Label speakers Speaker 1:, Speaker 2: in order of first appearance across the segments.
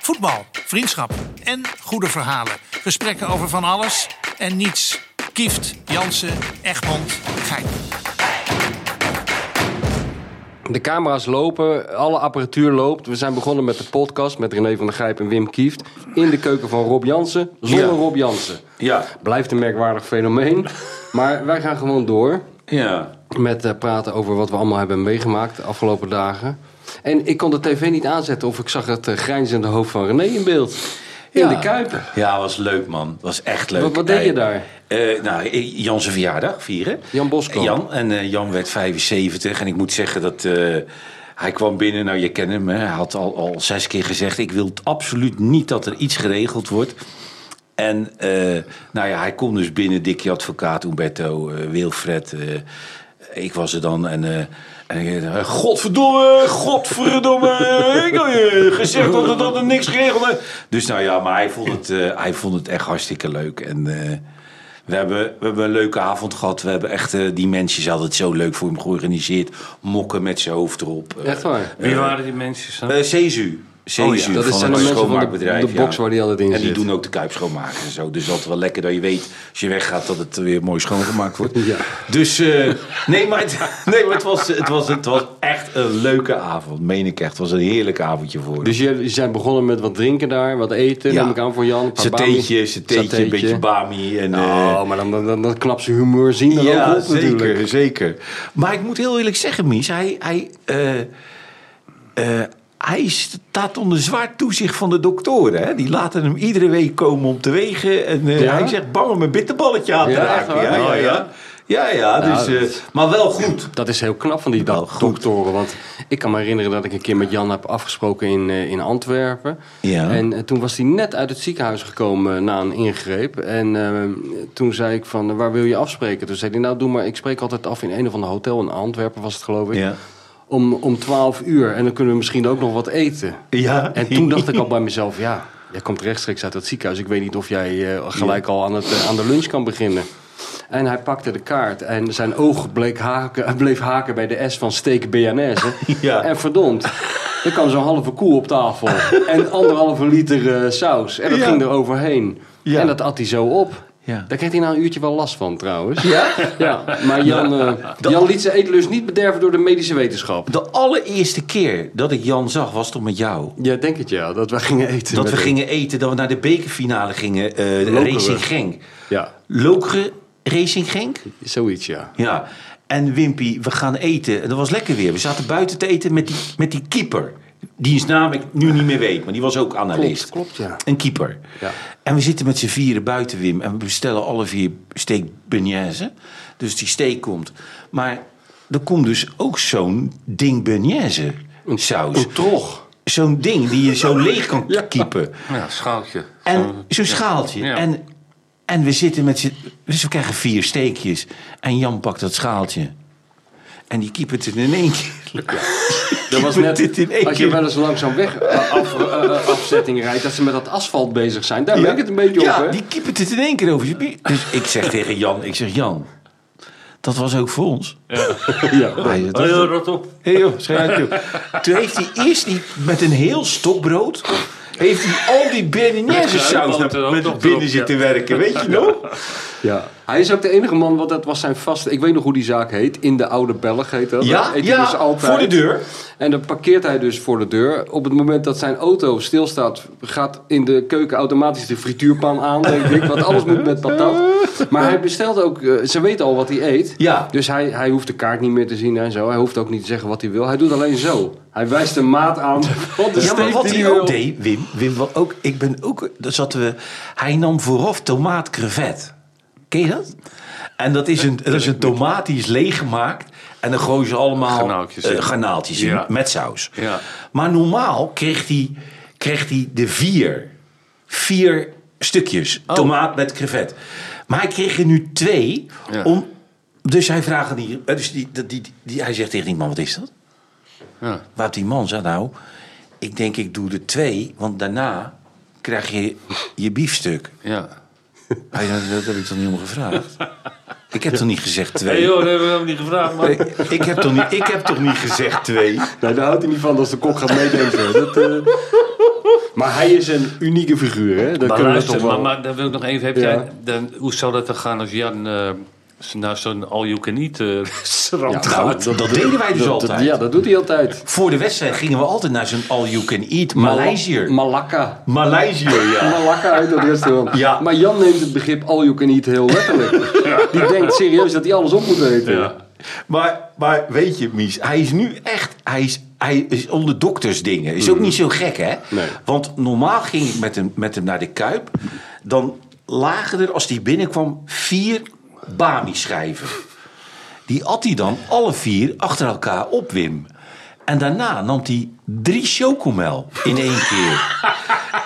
Speaker 1: Voetbal, vriendschap en goede verhalen. Gesprekken over van alles en niets. Kieft, Jansen, Egmond, Gein.
Speaker 2: De camera's lopen, alle apparatuur loopt. We zijn begonnen met de podcast met René van der Grijp en Wim Kieft. In de keuken van Rob Jansen, zonder
Speaker 3: Ja.
Speaker 2: Rob Jansen.
Speaker 3: Ja,
Speaker 2: Blijft een merkwaardig fenomeen. Maar wij gaan gewoon door
Speaker 3: ja.
Speaker 2: met eh, praten over wat we allemaal hebben meegemaakt de afgelopen dagen. En ik kon de tv niet aanzetten of ik zag het eh, grijnzende hoofd van René in beeld. In
Speaker 3: Ja.
Speaker 2: de Kuipen.
Speaker 3: Ja, was leuk man. Was echt leuk.
Speaker 2: Wat- wat deed je daar?
Speaker 3: eh, nou, eh, Jan zijn verjaardag vieren.
Speaker 2: Jan Boskamp.
Speaker 3: Jan. En eh, Jan werd 75. En ik moet zeggen dat eh, hij kwam binnen. Nou, je kent hem. Hè. Hij had al, al zes keer gezegd... ik wil t- absoluut niet dat er iets geregeld wordt. En eh, nou ja, hij komt dus binnen. Dikkie Advocaat, Umberto, eh, Wilfred... eh, ik was er dan en... eh, en ik, eh, godverdomme, godverdomme. Ik had je gezegd dat er, dat er niks geregeld is. Dus nou ja, maar hij vond het, eh, hij vond het echt hartstikke leuk. En eh, we, hebben, we hebben een leuke avond gehad. We hebben echt, eh, die mensen ze hadden het zo leuk voor hem georganiseerd. Mokken met zijn hoofd erop. Eh,
Speaker 2: Echt waar.
Speaker 4: Wie waren die mensen? Sam?
Speaker 3: eh, Cezu. Cezu
Speaker 4: Oh ja,
Speaker 2: dat
Speaker 3: van
Speaker 2: zijn
Speaker 3: het
Speaker 2: de mensen van de-
Speaker 3: schoonmaakbedrijf.
Speaker 2: de box waar die altijd in
Speaker 3: En die
Speaker 2: zit.
Speaker 3: doen ook de kuip schoonmaken en zo. Dus dat is wel lekker dat je weet als je weggaat dat het weer mooi schoongemaakt wordt.
Speaker 2: Ja.
Speaker 3: Dus eh, nee, maar, het, nee, maar het, was, het, was, het was echt een leuke avond. Meen ik echt. Het was een heerlijk avondje voor.
Speaker 2: Dus je, je zijn begonnen met wat drinken daar, wat eten.
Speaker 3: Ja.
Speaker 2: Neem ik aan voor Jan. een paar
Speaker 3: satéetje,
Speaker 2: bami.
Speaker 3: satéetje, een beetje bami. En, eh,
Speaker 2: Nou, maar dan, dan, dan, dan knap ze humor zien er ook
Speaker 3: ja,
Speaker 2: op
Speaker 3: zeker,
Speaker 2: natuurlijk.
Speaker 3: zeker. Maar ik moet heel eerlijk zeggen, Mies, hij, hij, eh, eh, hij staat onder zwaar toezicht van de doktoren. Hè? Die laten hem iedere week komen om te wegen. En eh,
Speaker 2: Ja?
Speaker 3: hij zegt, bang om een bitterballetje aan te
Speaker 2: Ja, echt
Speaker 3: raken.
Speaker 2: waar?
Speaker 3: Ja, ja,
Speaker 2: Oh,
Speaker 3: ja. ja, ja, dus,
Speaker 2: Nou,
Speaker 3: eh,
Speaker 2: dat-
Speaker 3: maar wel goed.
Speaker 2: Dat is heel knap van die
Speaker 3: Wel
Speaker 2: do-
Speaker 3: Nou, goed.
Speaker 2: doktoren. Want ik kan me herinneren dat ik een keer met Jan heb afgesproken in, eh, in Antwerpen.
Speaker 3: Ja.
Speaker 2: En eh, toen was hij net uit het ziekenhuis gekomen eh, na een ingreep. En eh, toen zei ik van, eh, waar wil je afspreken? Toen zei hij, nou doe maar, ik spreek altijd af in een of ander hotel. In Antwerpen was het geloof ik.
Speaker 3: Ja.
Speaker 2: Om, om 12 uur. En dan kunnen we misschien ook nog wat eten.
Speaker 3: Ja.
Speaker 2: En toen dacht ik al bij mezelf, ja, jij komt rechtstreeks uit het ziekenhuis. Ik weet niet of jij eh, gelijk al aan, het, eh, aan de lunch kan beginnen. En hij pakte de kaart en zijn oog bleek haken, bleef haken bij de S van steak BNS. hè.
Speaker 3: Ja.
Speaker 2: En verdomd, er kwam zo'n halve koe op tafel en anderhalve liter eh, saus. En dat
Speaker 3: Ja.
Speaker 2: ging er overheen.
Speaker 3: Ja.
Speaker 2: En dat at hij zo op.
Speaker 3: Ja.
Speaker 2: Daar kreeg hij na een uurtje wel last van trouwens.
Speaker 3: Ja?
Speaker 2: Ja, maar Jan, eh, Jan liet zijn eetlust niet bederven door de medische wetenschap.
Speaker 3: De allereerste keer dat ik Jan zag, was toch met jou?
Speaker 2: Ja, denk het ja, dat wij gingen eten.
Speaker 3: Dat
Speaker 2: met
Speaker 3: we
Speaker 2: hem.
Speaker 3: gingen eten, dat we naar de bekerfinale gingen. eh,
Speaker 2: Lokeren.
Speaker 3: Racing Genk.
Speaker 2: Ja,
Speaker 3: Lokeren Racing Genk?
Speaker 2: zoiets ja.
Speaker 3: Ja, en Wimpy, we gaan eten. En dat was lekker weer. We zaten buiten te eten met die, met die keeper. Die is naam ik nu niet meer weet, maar die was ook analist.
Speaker 2: Klopt, klopt, ja.
Speaker 3: Een keeper.
Speaker 2: Ja.
Speaker 3: En we zitten met z'n vieren buiten, Wim. En we bestellen alle vier steak beignaise. Dus die steak komt. Maar er komt dus ook zo'n ding beignaise saus.
Speaker 2: Een trog.
Speaker 3: Zo'n ding die je zo leeg kan kiepen.
Speaker 4: Ja, schaaltje.
Speaker 3: En zo'n schaaltje.
Speaker 4: Ja.
Speaker 3: En, en we zitten met z'n... Dus we krijgen vier steekjes. En Jan pakt dat schaaltje. En die keepert het in één keer.
Speaker 2: Dat was
Speaker 3: Je moet dit in
Speaker 2: net,
Speaker 3: één
Speaker 2: als je
Speaker 3: keer-
Speaker 2: wel eens langzaam weg eh, af, eh, eh, afzetting rijdt, dat ze met dat asfalt bezig zijn. Daar lijkt het een beetje
Speaker 3: ja,
Speaker 2: op, hè?
Speaker 3: die keepert het in één keer over zijn bier. Dus ik zeg tegen Jan, ik zeg Jan... Dat was ook voor ons.
Speaker 2: Ja.
Speaker 3: Hij zegt,
Speaker 4: Oh, joh, rot op.
Speaker 3: Hé joh, schijn uit joh. Toen heeft hij eerst die, met een heel stokbrood... heeft hij al die bearnaise saus
Speaker 4: kruidboter
Speaker 3: naar-
Speaker 4: ook
Speaker 3: met
Speaker 4: nog
Speaker 3: het binnen
Speaker 4: erop, ja.
Speaker 3: zitten werken. Weet je nog?
Speaker 2: Ja. Hij is ook de enige man, want dat was zijn vaste... Ik weet nog hoe die zaak heet. In de Oude Belg heet dat.
Speaker 3: Ja,
Speaker 2: Eet hij
Speaker 3: ja,
Speaker 2: dus altijd.
Speaker 3: voor de deur.
Speaker 2: En dan parkeert hij dus voor de deur. Op het moment dat zijn auto stilstaat, gaat in de keuken automatisch de frituurpan aan, denk ik. Want alles moet met patat. Maar hij bestelt ook, eh, ze weten al wat hij eet.
Speaker 3: Ja.
Speaker 2: Dus hij, hij hoeft de kaart niet meer te zien en zo. Hij hoeft ook niet te zeggen wat hij wil. Hij doet alleen zo. Hij wijst de maat aan. Wat de
Speaker 3: Ja, maar
Speaker 2: steek
Speaker 3: wat
Speaker 2: die
Speaker 3: hij
Speaker 2: wil.
Speaker 3: ook deed, Wim, Wim wat ook, ik ben ook, daar zaten we, hij nam vooraf tomaat crevet. Ken je dat? En dat is een, dat is een tomaat die is leeggemaakt en dan gooien ze allemaal
Speaker 4: Garnaaltjes in.
Speaker 3: eh, garnaaltjes in,
Speaker 4: Ja.
Speaker 3: met saus.
Speaker 4: Ja.
Speaker 3: Maar normaal kreeg hij, kreeg hij de vier, vier stukjes tomaat met crevet. Maar hij kreeg er nu twee,
Speaker 4: Ja.
Speaker 3: om, dus hij vraagt aan die, eh, dus die, die, die, die, hij zegt tegen die man, wat is dat?
Speaker 4: Ja.
Speaker 3: Wat die man zei nou, ik denk ik doe er twee, want daarna krijg je je biefstuk.
Speaker 4: ja.
Speaker 3: Hij zei, dat heb ik toch niet om gevraagd? Ik heb toch niet gezegd
Speaker 4: Hé
Speaker 3: twee?
Speaker 4: hey, joh, dat hebben we helemaal niet gevraagd, man.
Speaker 3: Nee, ik, heb toch niet, ik heb toch niet gezegd twee?
Speaker 2: Nee, daar houdt hij niet van als de kok gaat meedenken. Dat, eh, Maar hij is een unieke figuur, hè?
Speaker 4: Maar
Speaker 2: Dat kunnen we
Speaker 4: luister,
Speaker 2: toch wel.
Speaker 4: maar, maar dan wil ik nog even... Heb
Speaker 2: Ja.
Speaker 4: jij, dan, hoe zou dat dan gaan als Jan eh, naar zo'n eh, all-you-can-eat-restaurant
Speaker 2: Ja,
Speaker 4: gaat?
Speaker 2: nou,
Speaker 3: dat deden wij dus
Speaker 2: dat-
Speaker 3: altijd.
Speaker 2: ja, dat doet hij altijd.
Speaker 3: Voor de wedstrijd gingen we altijd naar zo'n all-you-can-eat Maleisier.
Speaker 2: Malakka.
Speaker 3: Maleisier, ja.
Speaker 2: Malakka uit dat restaurant.
Speaker 3: Ja.
Speaker 2: Maar Jan neemt het begrip all you can eat heel letterlijk. Die denkt serieus dat hij alles op moet eten.
Speaker 3: Maar, maar weet je, Mies, hij is nu echt... Hij is, hij is onder doktersdingen. Is ook niet zo gek, hè?
Speaker 2: Nee.
Speaker 3: Want normaal ging ik met hem, met hem naar de Kuip. Dan lagen er, als hij binnenkwam, vier Bami-schijven. Die at hij dan alle vier achter elkaar op, Wim. En daarna nam hij drie chocomel in één keer.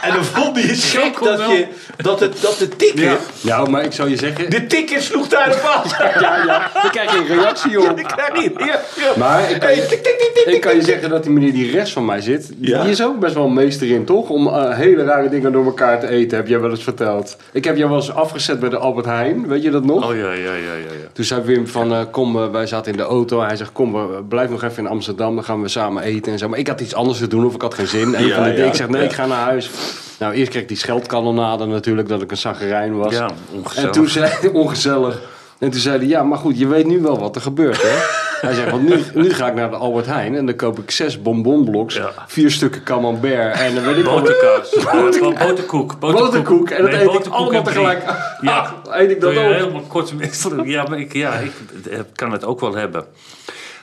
Speaker 3: en dan vond hij het gek dat,
Speaker 4: Chocomel?
Speaker 3: je, dat, het, dat de tikker...
Speaker 2: Nou, maar ik zou je zeggen...
Speaker 3: De tikker sloeg daar de paas.
Speaker 2: Ja, ja, daar krijg je een reactie op.
Speaker 3: Ik krijg niet. Ja, ja.
Speaker 2: Maar ik kan,
Speaker 3: Hey, tik, tik, tik,
Speaker 2: je,
Speaker 3: tik,
Speaker 2: ik kan je zeggen dat die meneer die rechts van mij zit...
Speaker 3: Ja.
Speaker 2: die is ook best wel een meester in, toch? Om eh, hele rare dingen door elkaar te eten, heb jij wel eens verteld. Ik heb jou wel eens afgezet bij de Albert Heijn, weet je dat nog?
Speaker 4: Oh ja, ja, ja, ja. ja.
Speaker 2: Toen zei Wim van, eh, kom, eh, wij zaten in de auto. Hij zegt, kom, we- blijf nog even in Amsterdam, dan gaan we samen eten en zo. Maar ik had iets anders te doen of ik had geen zin. En
Speaker 3: Ja,
Speaker 2: van de
Speaker 3: ja.
Speaker 2: dingen. ik zeg, nee,
Speaker 3: Ja.
Speaker 2: ik ga naar huis. Nou, eerst kreeg ik die scheldkanonade natuurlijk, dat ik een zaggerijn was.
Speaker 4: Ja, ongezellig.
Speaker 2: En toen zei hij, ongezellig. En toen zei hij, ja, maar goed, je weet nu wel wat er gebeurt, hè? Hij zegt, want nu, nu ga ik naar de Albert Heijn en dan koop ik zes bonbonbloks,
Speaker 4: Ja.
Speaker 2: vier stukken camembert en dan weet ik wel-
Speaker 4: Boterkaas. Eh, Boterkoek.
Speaker 2: Boterkoek. En dat eet ik
Speaker 4: boterkoek
Speaker 2: allemaal
Speaker 4: en drie.
Speaker 2: tegelijk.
Speaker 4: Ja.
Speaker 2: Eet ik dat
Speaker 4: Doe je
Speaker 2: ook?
Speaker 4: Helemaal kort misselijk. Ja, maar ik, ja, ik eh, kan het ook wel hebben.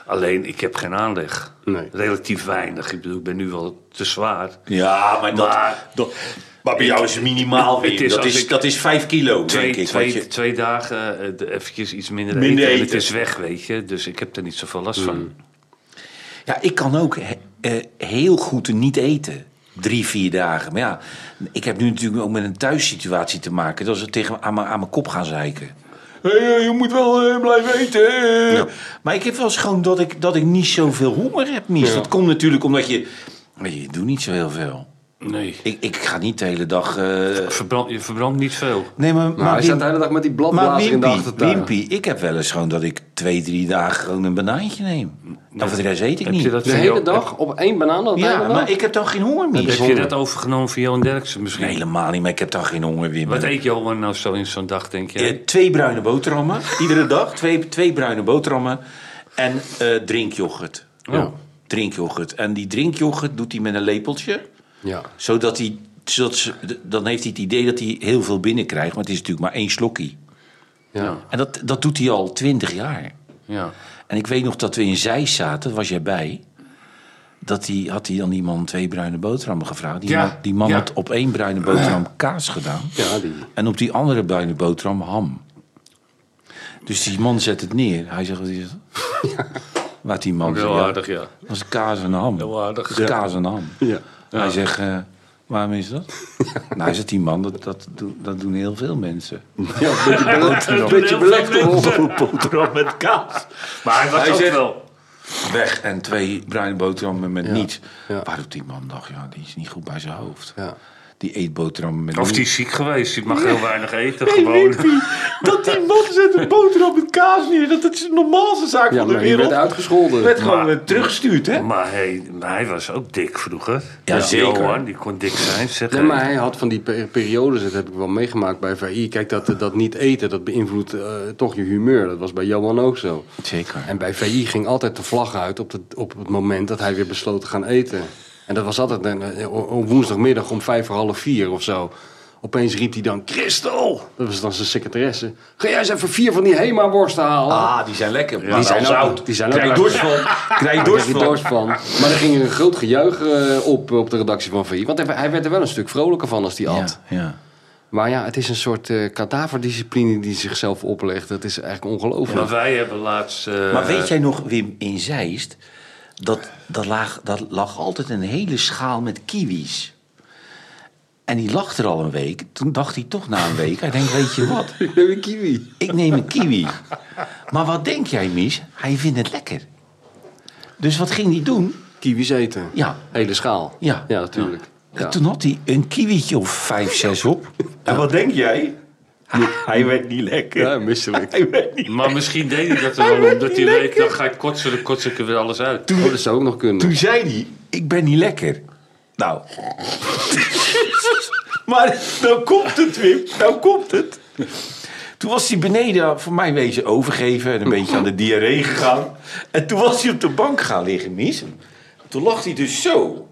Speaker 4: Alleen, ik heb geen aanleg.
Speaker 2: Nee.
Speaker 4: Relatief weinig. Ik bedoel, ik ben nu wel te zwaar.
Speaker 3: Ja, maar dat...
Speaker 4: Maar-
Speaker 3: dat- maar bij jou is het minimaal
Speaker 4: Het
Speaker 3: weer.
Speaker 4: is
Speaker 3: dat,
Speaker 4: als
Speaker 3: is,
Speaker 4: ik-
Speaker 3: dat is vijf kilo,
Speaker 4: Twee,
Speaker 3: denk ik.
Speaker 4: twee,
Speaker 3: wat je-
Speaker 4: twee dagen eh, de- eventjes iets minder, eten.
Speaker 3: Minder
Speaker 4: en Het
Speaker 3: eten. Hmm.
Speaker 4: is weg, weet je. Dus ik heb er niet zoveel last van.
Speaker 3: Ja, ik kan ook he- eh, heel goed niet eten. Drie, vier dagen. Maar ja, ik heb nu natuurlijk ook met een thuissituatie te maken. Dat ze tegen aan mijn, aan mijn kop gaan zeiken. Hey, eh, je moet wel eh, blijven eten. eh. Maar ik heb wel eens gewoon dat ik, dat ik niet zoveel honger heb, Mies. Dat komt natuurlijk omdat je... Maar je doet niet zo heel veel.
Speaker 4: Nee.
Speaker 3: Ik, ik ga niet de hele dag... eh, Nou,
Speaker 4: Verbrand, je verbrandt niet veel.
Speaker 3: Nee, maar,
Speaker 2: Maar Nou, hij
Speaker 3: Wim-
Speaker 2: staat de hele dag met die
Speaker 3: maar
Speaker 2: bladblazen in de
Speaker 3: Wimpy,
Speaker 2: achtertuin.
Speaker 3: Wimpy, ik heb wel eens gewoon dat ik twee, drie dagen gewoon een banaantje neem. Nou, voor de rest eet ik
Speaker 4: Heb
Speaker 3: niet.
Speaker 4: je dat
Speaker 2: De
Speaker 4: van
Speaker 2: hele
Speaker 4: Jo-
Speaker 2: dag op één banaan? dat hele
Speaker 3: Ja,
Speaker 2: dag?
Speaker 3: maar ik heb dan geen honger
Speaker 4: Heb,
Speaker 3: meer.
Speaker 4: heb je dat overgenomen van Johan Derksen misschien?
Speaker 3: Nee, helemaal niet, maar ik heb dan geen honger meer.
Speaker 4: Wat eet Johan nou zo in zo'n dag, denk je?
Speaker 3: Eh, twee bruine boterhammen, iedere dag. Twee, twee bruine boterhammen en eh drinkyoghurt.
Speaker 4: Oh.
Speaker 2: Ja.
Speaker 3: Drinkyoghurt. En die drinkyoghurt doet hij met een lepeltje.
Speaker 2: Ja.
Speaker 3: Zodat hij, zodat ze- d- dan heeft hij het idee dat hij heel veel binnenkrijgt. Maar het is natuurlijk maar één slokkie.
Speaker 2: Ja.
Speaker 3: En dat, dat doet hij al twintig jaar.
Speaker 4: Ja.
Speaker 3: En ik weet nog dat we in Zeist zaten, was jij bij. Dat die, had hij dan die man twee bruine boterhammen gevraagd. Die
Speaker 4: Ja,
Speaker 3: man, die man
Speaker 4: ja.
Speaker 3: had op één bruine boterham kaas gedaan.
Speaker 2: Ja, die-
Speaker 3: En op die andere bruine boterham ham. Dus die man zet het neer. Hij zegt, wat is dat? Wat die man
Speaker 4: Heel
Speaker 3: zegt, ja,
Speaker 4: aardig, ja.
Speaker 3: dat is kaas en ham.
Speaker 4: Heel aardig.
Speaker 3: Dat is kaas en ham.
Speaker 2: Ja.
Speaker 3: Hij zegt, eh, waarom is dat? nou, hij zegt, die man, dat, dat, doen- dat doen heel veel mensen.
Speaker 2: Ja, een beetje belegd. Een beetje
Speaker 4: heel
Speaker 2: belegd
Speaker 4: veel
Speaker 2: erop.
Speaker 3: Boterham met kaas.
Speaker 4: Maar hij was
Speaker 3: Hij
Speaker 4: ook
Speaker 3: zegt-
Speaker 4: wel...
Speaker 3: weg en twee bruine boterhammen met niets.
Speaker 2: ja.
Speaker 3: Waarop die man dacht, ja, die is niet goed bij zijn hoofd.
Speaker 2: Ja.
Speaker 3: Die eet boterhammen met
Speaker 4: Of die
Speaker 3: niets.
Speaker 4: is ziek geweest, die mag heel weinig eten. gewoon.
Speaker 3: dat die man zet een boterham met kaas neer. Dat is de normaalste zaak
Speaker 2: Ja, maar je werd uitgescholden.
Speaker 4: gewoon, eh,
Speaker 3: teruggestuurd, hè?
Speaker 4: Maar hij, maar hij was ook dik vroeger. Dus
Speaker 3: Ja, zeker.
Speaker 4: Johan, die kon dik zijn. Zeg
Speaker 2: Nee,
Speaker 4: hey.
Speaker 2: maar hij had van die per- periodes, dat heb ik wel meegemaakt bij VI. Kijk, dat, dat niet eten, dat beïnvloedt eh, toch je humeur. Dat was bij Johan ook zo.
Speaker 3: Zeker.
Speaker 2: En bij VI ging altijd de vlag uit op, het- op het moment dat hij weer besloot te gaan eten. En dat was altijd een, eh, o- o- woensdagmiddag om vijf voor half vier of zo. Opeens riep hij dan, Christel! Dat was dan zijn secretaresse. Ga jij eens even vier van die Hema-worsten halen?
Speaker 3: Ah, die zijn lekker. maar
Speaker 2: die
Speaker 3: wel
Speaker 2: zijn ook-
Speaker 3: zout.
Speaker 2: die zijn ook
Speaker 3: Krijg je dorst
Speaker 2: lekker.
Speaker 3: van. Krijg je
Speaker 2: Daar
Speaker 3: dorst
Speaker 2: kreeg je dorst
Speaker 3: van.
Speaker 2: van. Maar er ging er een groot gejuich eh, op, op de redactie van VI. Want hij- hij werd er wel een stuk vrolijker van als hij
Speaker 3: Ja,
Speaker 2: at.
Speaker 3: ja.
Speaker 2: Maar ja, het is een soort eh kadaverdiscipline die zichzelf oplegt. Dat is eigenlijk ongelooflijk.
Speaker 4: Maar wij hebben laatst... eh,
Speaker 3: Maar weet jij nog, Wim, in Zeist... Dat, dat, lag, dat lag altijd een hele schaal met kiwis. En die lag er al een week. Toen dacht hij toch na een week... Hij denkt, weet je wat?
Speaker 2: Ik neem een kiwi.
Speaker 3: Ik neem een kiwi. Maar wat denk jij, Mies? Hij vindt het lekker. Dus wat ging hij doen?
Speaker 2: Kiwis eten.
Speaker 3: Ja.
Speaker 2: Hele schaal.
Speaker 3: Ja.
Speaker 2: Ja, natuurlijk. Ja.
Speaker 3: Toen had hij een kiwietje of vijf, zes op. Ah. En wat denk jij? Hij werd niet lekker.
Speaker 2: Ja, misselijk.
Speaker 3: Hij werd niet...
Speaker 4: Maar misschien deed hij dat wel, omdat hij weet, dan ga ik kotsen, dan kots ik er weer alles uit.
Speaker 2: Oh, dat zou ook nog kunnen.
Speaker 3: Toen zei hij, ik ben niet lekker. Nou. maar nou komt het, Wim. Nou komt het. Toen was hij beneden, voor mij wezen, overgeven en een beetje aan de diarree gegaan. En toen was hij op de bank gaan liggen, Mies. Toen lag hij dus zo.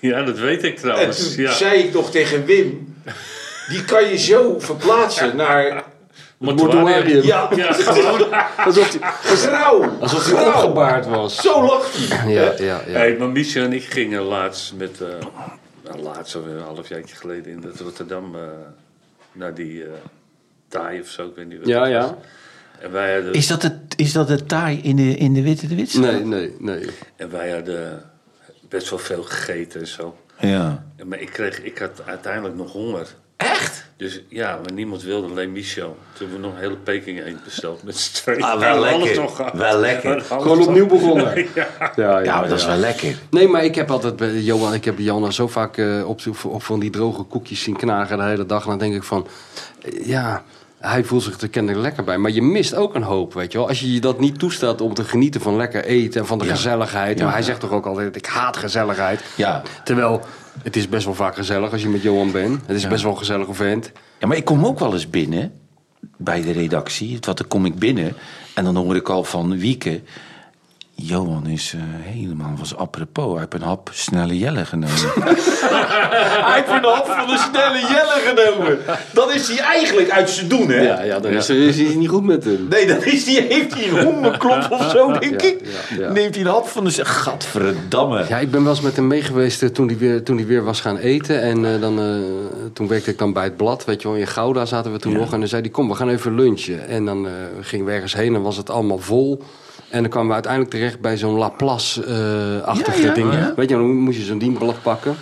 Speaker 5: Ja, dat weet ik
Speaker 3: En
Speaker 5: trouwens.
Speaker 3: toen
Speaker 5: Ja.
Speaker 3: zei ik nog tegen Wim, die kan je zo verplaatsen naar...
Speaker 5: Mortuarium.
Speaker 3: Ja,
Speaker 5: Ja, gewoon.
Speaker 2: Alsof hij,
Speaker 3: grauw.
Speaker 2: alsof hij
Speaker 3: grauw.
Speaker 2: opgebaard was.
Speaker 3: Zo lag hij.
Speaker 2: Ja, ja, ja.
Speaker 5: Hey, maar Miesje en ik gingen laatst met... eh nou, laatst, alweer een halfjaartje geleden in het Rotterdam... eh, naar die eh Thai of zo, ik weet niet wat
Speaker 2: Ja,
Speaker 5: het
Speaker 2: ja.
Speaker 5: was. En wij hadden,
Speaker 3: Is dat het, is dat het taai in de, in de Witte de Witstraat?
Speaker 2: Nee, nee, nee.
Speaker 5: en wij hadden best wel veel gegeten en zo.
Speaker 3: Ja.
Speaker 5: En Maar ik, kreeg, ik had uiteindelijk nog honger.
Speaker 3: Echt?
Speaker 5: Dus ja, maar niemand wilde alleen Michel. Toen hebben we nog een hele Peking eend besteld met z'n tweeën.
Speaker 3: Ah, wel
Speaker 5: We hadden
Speaker 3: lekker.
Speaker 5: nog gehad.
Speaker 3: Wel lekker.
Speaker 5: We hadden alles
Speaker 2: Gewoon
Speaker 5: nog-
Speaker 2: opnieuw begonnen.
Speaker 5: Ja.
Speaker 2: Ja,
Speaker 3: Ja, maar dat is
Speaker 2: ja.
Speaker 3: wel lekker.
Speaker 2: Nee, maar ik heb altijd bij Johan, ik heb Johan zo vaak eh, op, op, op van die droge koekjes zien knagen de hele dag. En dan denk ik van, eh, ja, hij voelt zich er kennelijk lekker bij. Maar je mist ook een hoop, weet je wel. Als je je dat niet toestaat om te genieten van lekker eten en van de gezelligheid. Maar hij zegt toch ook altijd, ik haat gezelligheid.
Speaker 3: Ja.
Speaker 2: Terwijl, het is best wel vaak gezellig als je met Johan bent. Het is best wel een gezellig event.
Speaker 3: Ja, maar ik kom ook wel eens binnen bij de redactie. Wat, dan kom ik binnen en dan hoor ik al van Wieke... Johan is eh, helemaal was apropos. Hij heeft een hap snelle jelle genomen. hij heeft een hap van de snelle jelle genomen. Dat is hij eigenlijk uit zijn doen, hè?
Speaker 2: Ja, ja dan Is, er, is iets niet goed met hem.
Speaker 3: Nee, dat is die, heeft hij een hondenklop of zo, denk
Speaker 2: Ja,
Speaker 3: ik.
Speaker 2: ja, ja.
Speaker 3: Neemt hij een hap van de... z- Gadverdamme.
Speaker 2: Ja, ik ben wel eens met hem meegeweest eh, toen hij weer, toen hij weer was gaan eten. En eh, dan, eh, toen werkte ik dan bij het blad, weet je wel. In Gouda zaten we toen nog. En dan zei hij, kom, we gaan even lunchen. En dan eh, gingen we ergens heen en was het allemaal vol. En dan kwamen we uiteindelijk terecht bij zo'n Laplace-achtige
Speaker 3: Ja, ja,
Speaker 2: ding.
Speaker 3: ja.
Speaker 2: Weet je, dan moest je zo'n dienblad pakken.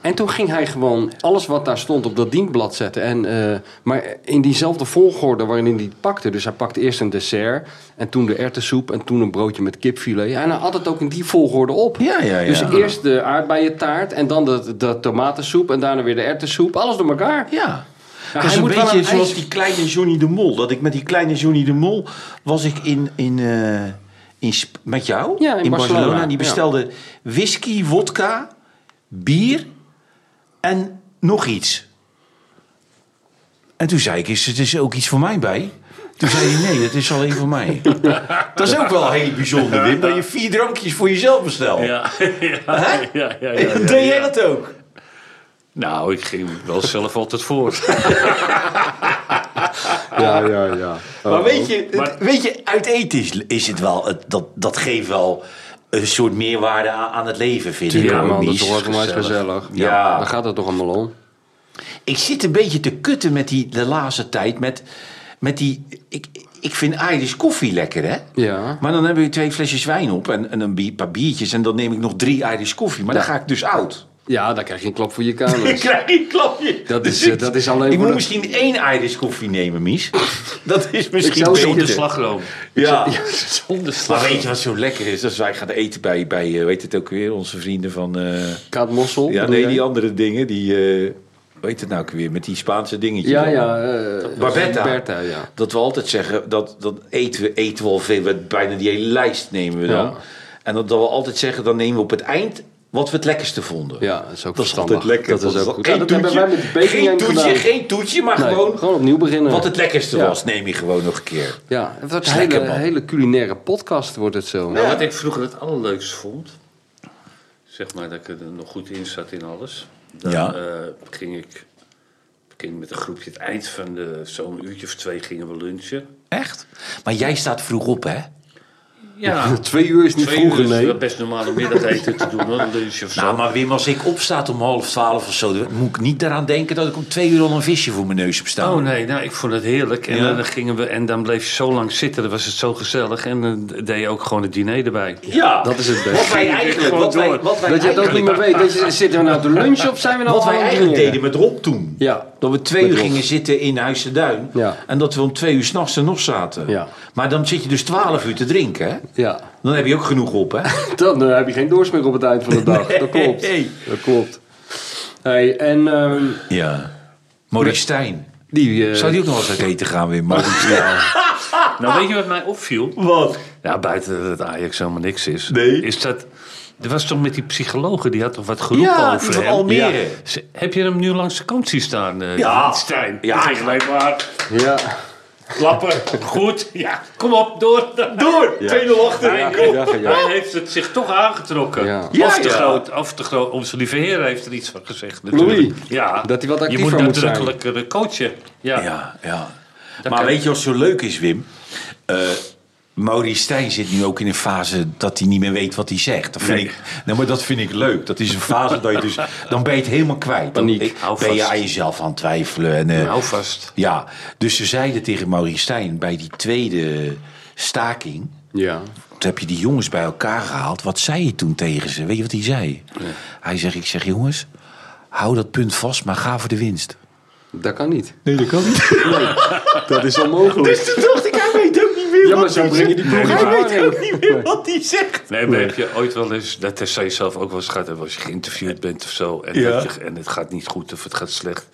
Speaker 2: En toen ging hij gewoon alles wat daar stond op dat dienblad zetten. En, eh, maar in diezelfde volgorde waarin hij het pakte. Dus hij pakte eerst een dessert. En toen de erwtensoep. En toen een broodje met kipfilet. Ja, en hij had het ook in die volgorde op.
Speaker 3: Ja, ja, ja.
Speaker 2: Dus eerst de aardbeientaart. En dan de, de tomatensoep. En daarna weer de erwtensoep. Alles door elkaar.
Speaker 3: Ja.
Speaker 2: Ja,
Speaker 3: dat is
Speaker 2: hij
Speaker 3: een
Speaker 2: moet wel
Speaker 3: beetje
Speaker 2: een
Speaker 3: zoals
Speaker 2: ijs-
Speaker 3: die kleine Johnny de Mol. Dat ik met die kleine Johnny de Mol was ik in, in, eh, in Sp- met jou
Speaker 2: Ja, in Barcelona.
Speaker 3: Die
Speaker 2: Ja.
Speaker 3: bestelde whisky, wodka, bier en nog iets. En toen zei ik, is het is ook iets voor mij bij? Toen zei hij, nee, dat is alleen voor mij. dat is ook wel heel bijzonder, Wim. Dat je vier drankjes voor jezelf bestelt.
Speaker 5: Ja. Ja,
Speaker 3: Hè?
Speaker 5: ja, ja, ja,
Speaker 3: Deed
Speaker 5: ja.
Speaker 3: jij dat ook?
Speaker 5: Nou, ik ging wel zelf altijd voor.
Speaker 2: Ja, ja, ja.
Speaker 3: Maar weet je, het-
Speaker 5: Maar-
Speaker 3: weet je uit eten is, is het wel, het, dat, dat geeft wel een soort meerwaarde aan, aan het leven, vind ik.
Speaker 2: Ja,
Speaker 5: Ja,
Speaker 2: man, dat
Speaker 5: Mies,
Speaker 2: is toch wel eens
Speaker 5: gezellig.
Speaker 2: gezellig.
Speaker 3: Ja.
Speaker 2: Daar gaat het toch allemaal om.
Speaker 3: Ik zit een beetje te kutten met die de laatste tijd. Met, met die, ik, ik vind Irish koffie lekker, hè?
Speaker 2: Ja.
Speaker 3: Maar dan hebben we twee flesjes wijn op en, en een bi- paar biertjes. En dan neem ik nog drie Irish koffie. Maar
Speaker 2: Ja.
Speaker 3: dan ga ik dus oud.
Speaker 2: Ja, daar krijg je een klap voor je Dus- kanus.
Speaker 3: krijg geen klapje.
Speaker 2: Dat is, eh, dat is alleen voor
Speaker 3: Ik moet
Speaker 2: de-
Speaker 3: misschien één Irish koffie nemen, Mies. Dat is misschien
Speaker 2: zou
Speaker 3: beter.
Speaker 2: zeggen-
Speaker 5: Zonder slagroom.
Speaker 3: Ja.
Speaker 5: Zonder
Speaker 3: Maar
Speaker 5: slagroom.
Speaker 3: weet je wat zo lekker is? Als wij gaan eten bij, bij eh, weet het ook weer, onze vrienden van... eh,
Speaker 2: Kaat Mossel.
Speaker 3: ja,
Speaker 2: bedoel
Speaker 3: nee,
Speaker 2: jij?
Speaker 3: die andere dingen, die... eh, weet het nou ook weer, met die Spaanse dingetjes.
Speaker 2: Ja,
Speaker 3: allemaal.
Speaker 2: ja. eh,
Speaker 3: Barbetta.
Speaker 2: Bertha, ja.
Speaker 3: Dat we altijd zeggen, dat, dat eten, we, eten we al veel, we, bijna die hele lijst nemen we dan.
Speaker 2: Ja.
Speaker 3: En dat, dat we altijd zeggen, dan nemen we op het eind wat we het lekkerste vonden.
Speaker 2: Ja, dat is ook
Speaker 3: Dat is
Speaker 2: verstandig.
Speaker 3: altijd lekker.
Speaker 2: Dat is
Speaker 3: want
Speaker 2: ook goed.
Speaker 3: geen
Speaker 2: Ja, dat hebben wij
Speaker 3: toetje,
Speaker 2: met de baking
Speaker 3: geen
Speaker 2: game
Speaker 3: toetje,
Speaker 2: gedaan.
Speaker 3: geen toetje, maar
Speaker 2: Nee,
Speaker 3: gewoon
Speaker 2: gewoon opnieuw beginnen.
Speaker 3: wat het lekkerste
Speaker 2: Ja.
Speaker 3: was, neem je gewoon nog een keer.
Speaker 2: Ja, het wordt
Speaker 3: Is
Speaker 2: een hele,
Speaker 3: lekker, man.
Speaker 2: hele culinaire podcast wordt het zo.
Speaker 5: Nou, wat ik vroeger het allerleukste vond, zeg maar dat ik er nog goed in zat in alles, dan
Speaker 3: Ja.
Speaker 5: eh, ging ik ging met een groepje het eind van de- zo'n uurtje of twee gingen we lunchen.
Speaker 3: Echt? Maar jij staat vroeg op, hè?
Speaker 5: Ja,
Speaker 2: Twee uur is niet
Speaker 5: twee uur
Speaker 2: vroeger,
Speaker 5: is
Speaker 2: nee.
Speaker 5: wel best normale middageten te doen, hoor, een lunch of zo.
Speaker 3: Nou, maar Wim, als ik opstaat om half twaalf of zo, dan moet ik niet daaraan denken dat ik om twee uur al een visje voor mijn neus heb staan.
Speaker 5: Oh nee, nou, ik vond het heerlijk. En
Speaker 3: Ja.
Speaker 5: dan gingen we en dan bleef je zo lang zitten, dan was het zo gezellig. En dan deed je ook gewoon het diner erbij.
Speaker 3: Ja,
Speaker 2: dat is het beste.
Speaker 3: Wat wij eigenlijk,
Speaker 5: Gewoon
Speaker 3: wat wij,
Speaker 5: door.
Speaker 3: wat wij
Speaker 2: Dat je het ook
Speaker 3: eigenlijk,
Speaker 2: niet meer weet. Dat je, zitten we nou te lunchen of zijn we nou
Speaker 3: wat
Speaker 2: al
Speaker 3: wij
Speaker 2: aan het
Speaker 3: eigenlijk
Speaker 2: dineren?
Speaker 3: deden met Rob toen.
Speaker 2: Ja.
Speaker 3: Dat we twee
Speaker 2: Met
Speaker 3: uur
Speaker 2: Rob.
Speaker 3: gingen zitten in Huisenduin.
Speaker 2: Ja.
Speaker 3: En dat we om twee uur s'nachts er nog zaten.
Speaker 2: Ja.
Speaker 3: Maar dan zit je dus twaalf uur te drinken. Hè?
Speaker 2: Ja,
Speaker 3: Dan heb je ook genoeg op, hè?
Speaker 2: dan eh, heb je geen dorst meer op het eind van de dag. Dat klopt.
Speaker 3: Nee.
Speaker 2: Dat klopt. Hey, en ehm,
Speaker 3: Ja. Maurice Stijn.
Speaker 2: die... eh,
Speaker 3: Zou die ook nog eens uit eten gaan, Wim? Maurice?
Speaker 5: Nou, weet je wat mij opviel?
Speaker 3: Wat?
Speaker 5: Nou, buiten dat het Ajax helemaal niks is.
Speaker 3: Nee.
Speaker 5: Is dat Er was toch met die psychologen, die had toch wat geroepen
Speaker 3: Ja, die
Speaker 5: over
Speaker 3: van
Speaker 5: hem?
Speaker 3: Almere.
Speaker 5: Ze- Heb je hem nu langs de kant zien staan? eh?
Speaker 4: Ja, Stijn.
Speaker 3: Ja.
Speaker 4: Ja. Ging gelijk maar.
Speaker 2: Ja.
Speaker 4: Klappen. Goed. Ja.
Speaker 5: Kom op, door.
Speaker 4: Door. Tweede ochtend.
Speaker 2: Ja,
Speaker 4: Kom.
Speaker 2: ja, ja.
Speaker 5: Hij heeft het zich toch aangetrokken.
Speaker 2: Ja.
Speaker 5: of te
Speaker 3: ja.
Speaker 5: groot, of te groot. Onze lieve heer heeft er iets van gezegd natuurlijk.
Speaker 2: Louis,
Speaker 5: ja.
Speaker 2: dat hij wat
Speaker 5: Je moet
Speaker 2: actiever moet zijn.
Speaker 5: nadrukkelijker coachen. Ja.
Speaker 3: Ja, ja.
Speaker 5: Dan
Speaker 3: maar
Speaker 5: kan-
Speaker 3: weet je wat zo leuk is, Wim? Eh Maurice Stijn zit nu ook in een fase dat hij niet meer weet wat hij zegt. Dat vind, ik, nou, maar dat vind ik leuk. Dat is een fase dat je dus... Dan ben je het helemaal kwijt. Dan
Speaker 2: Paniek.
Speaker 3: ik-
Speaker 5: Hou
Speaker 3: ben je
Speaker 5: vast.
Speaker 3: aan jezelf aan het twijfelen. En, eh,
Speaker 5: Hou vast.
Speaker 3: ja, dus ze zeiden tegen Maurice Stijn bij die tweede staking...
Speaker 2: Ja.
Speaker 3: Toen heb je die jongens bij elkaar gehaald. Wat zei je toen tegen ze? Weet je wat hij zei? Hij zegt, ik zeg, jongens, hou dat punt vast, maar ga voor de winst.
Speaker 2: Dat kan niet.
Speaker 3: Nee, dat kan niet.
Speaker 2: Dat is onmogelijk.
Speaker 3: Dus toen dacht ik, hij weet ook niet meer
Speaker 2: Ja,
Speaker 3: wat
Speaker 2: maar zo
Speaker 3: hij
Speaker 2: breng je die
Speaker 3: zegt.
Speaker 2: ploeg in
Speaker 3: Hij weet
Speaker 2: verwarring.
Speaker 3: ook niet meer wat hij zegt.
Speaker 5: Nee, maar heb je ooit wel eens, dat zou je zelf ook wel eens gehad hebben als je geïnterviewd bent of zo. En,
Speaker 3: Ja.
Speaker 5: dat je, en het gaat niet goed of het gaat slecht.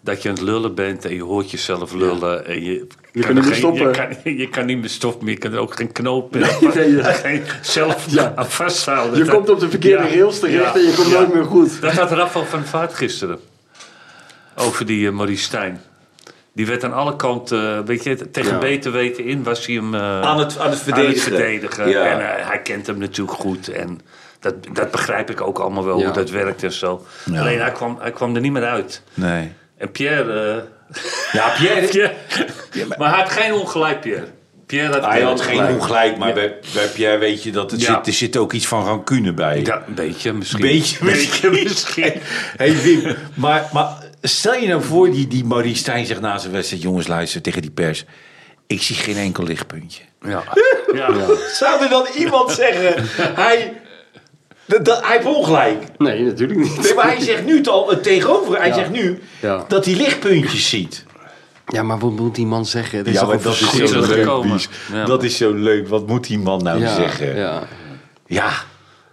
Speaker 5: Dat je aan het lullen bent en je hoort jezelf lullen. En je,
Speaker 2: kan niet
Speaker 5: er
Speaker 2: meer
Speaker 5: geen-
Speaker 2: stoppen.
Speaker 5: Je kan, je kan niet meer stoppen, maar je kan er ook geen knoop in.
Speaker 2: nee, ja.
Speaker 5: Geen- Zelf
Speaker 2: Ja.
Speaker 5: aan vasthouden.
Speaker 2: Je
Speaker 5: Dat-
Speaker 2: komt op de verkeerde
Speaker 5: Ja,
Speaker 2: rails terecht
Speaker 5: ja,
Speaker 2: en je komt
Speaker 5: ja.
Speaker 2: nooit meer goed.
Speaker 5: Dat had Rafael van Vaart gisteren. Over die eh, Maurice Stijn. Die werd aan alle kanten, eh, weet je, tegen
Speaker 2: Ja.
Speaker 5: beter weten in was hij hem... eh,
Speaker 3: Aan het, aan het verdedigen.
Speaker 5: aan het verdedigen.
Speaker 3: Ja.
Speaker 5: En eh, hij kent hem natuurlijk goed. En dat, dat begrijp ik ook allemaal wel,
Speaker 2: Ja.
Speaker 5: hoe dat werkt en zo.
Speaker 3: Ja.
Speaker 5: Alleen hij kwam, hij kwam er niet meer uit.
Speaker 3: Nee.
Speaker 5: En Pierre...
Speaker 3: Ja,
Speaker 5: eh,
Speaker 3: Pierre...
Speaker 5: Pierre maar... hij had geen ongelijk, Pierre. Pierre had,
Speaker 3: Hij
Speaker 5: wel
Speaker 3: had geen
Speaker 5: gelijk.
Speaker 3: ongelijk, maar bij, bij Pierre weet je dat het
Speaker 5: Ja.
Speaker 3: zit, er zit ook iets van rancune bij.
Speaker 5: Ja, een beetje misschien.
Speaker 3: Beetje misschien.
Speaker 5: misschien.
Speaker 3: hey Wim, maar, maar stel je nou voor die, die Maurice Stijn zegt na zijn wedstrijd... jongens, luister tegen die pers. Ik zie geen enkel lichtpuntje.
Speaker 5: Ja. Ja.
Speaker 3: Zou er dan iemand zeggen... Hij, dat, dat- hij heeft ongelijk.
Speaker 2: Nee, natuurlijk
Speaker 3: Nee,
Speaker 2: niet.
Speaker 3: maar hij zegt nu het al het tegenover. Hij zegt nu
Speaker 2: Ja.
Speaker 3: dat hij lichtpuntjes ziet.
Speaker 2: Ja, maar wat moet die man zeggen? Het is toch
Speaker 3: maar
Speaker 2: een verschil.
Speaker 5: is zo terugkomen.
Speaker 3: Bies.
Speaker 5: Ja.
Speaker 3: Dat is zo leuk. Wat moet die man nou
Speaker 2: Ja,
Speaker 3: zeggen? Ja.
Speaker 2: ja,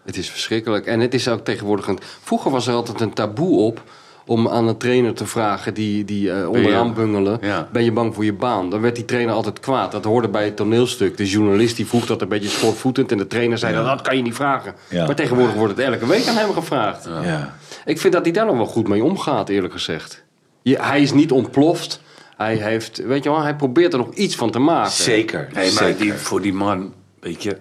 Speaker 2: het is verschrikkelijk. En het is ook tegenwoordig... Een, vroeger was er altijd een taboe op om aan een trainer te vragen die, die eh, onderaan bungelen...
Speaker 5: Ja.
Speaker 2: ben je bang voor je baan? Dan werd die trainer altijd kwaad. Dat hoorde bij het toneelstuk. De journalist die vroeg dat een beetje schoorvoetend... en de trainer zei, dan dat kan je niet vragen.
Speaker 3: Ja.
Speaker 2: Maar tegenwoordig wordt het elke week aan hem gevraagd.
Speaker 3: Ja.
Speaker 2: Ik vind dat hij daar nog wel goed mee omgaat, eerlijk gezegd. Je, hij is niet ontploft. Hij, heeft, weet je wel, hij probeert er nog iets van te maken.
Speaker 3: Zeker.
Speaker 5: Nee, maar
Speaker 3: zeker.
Speaker 5: die, voor die man, weet je.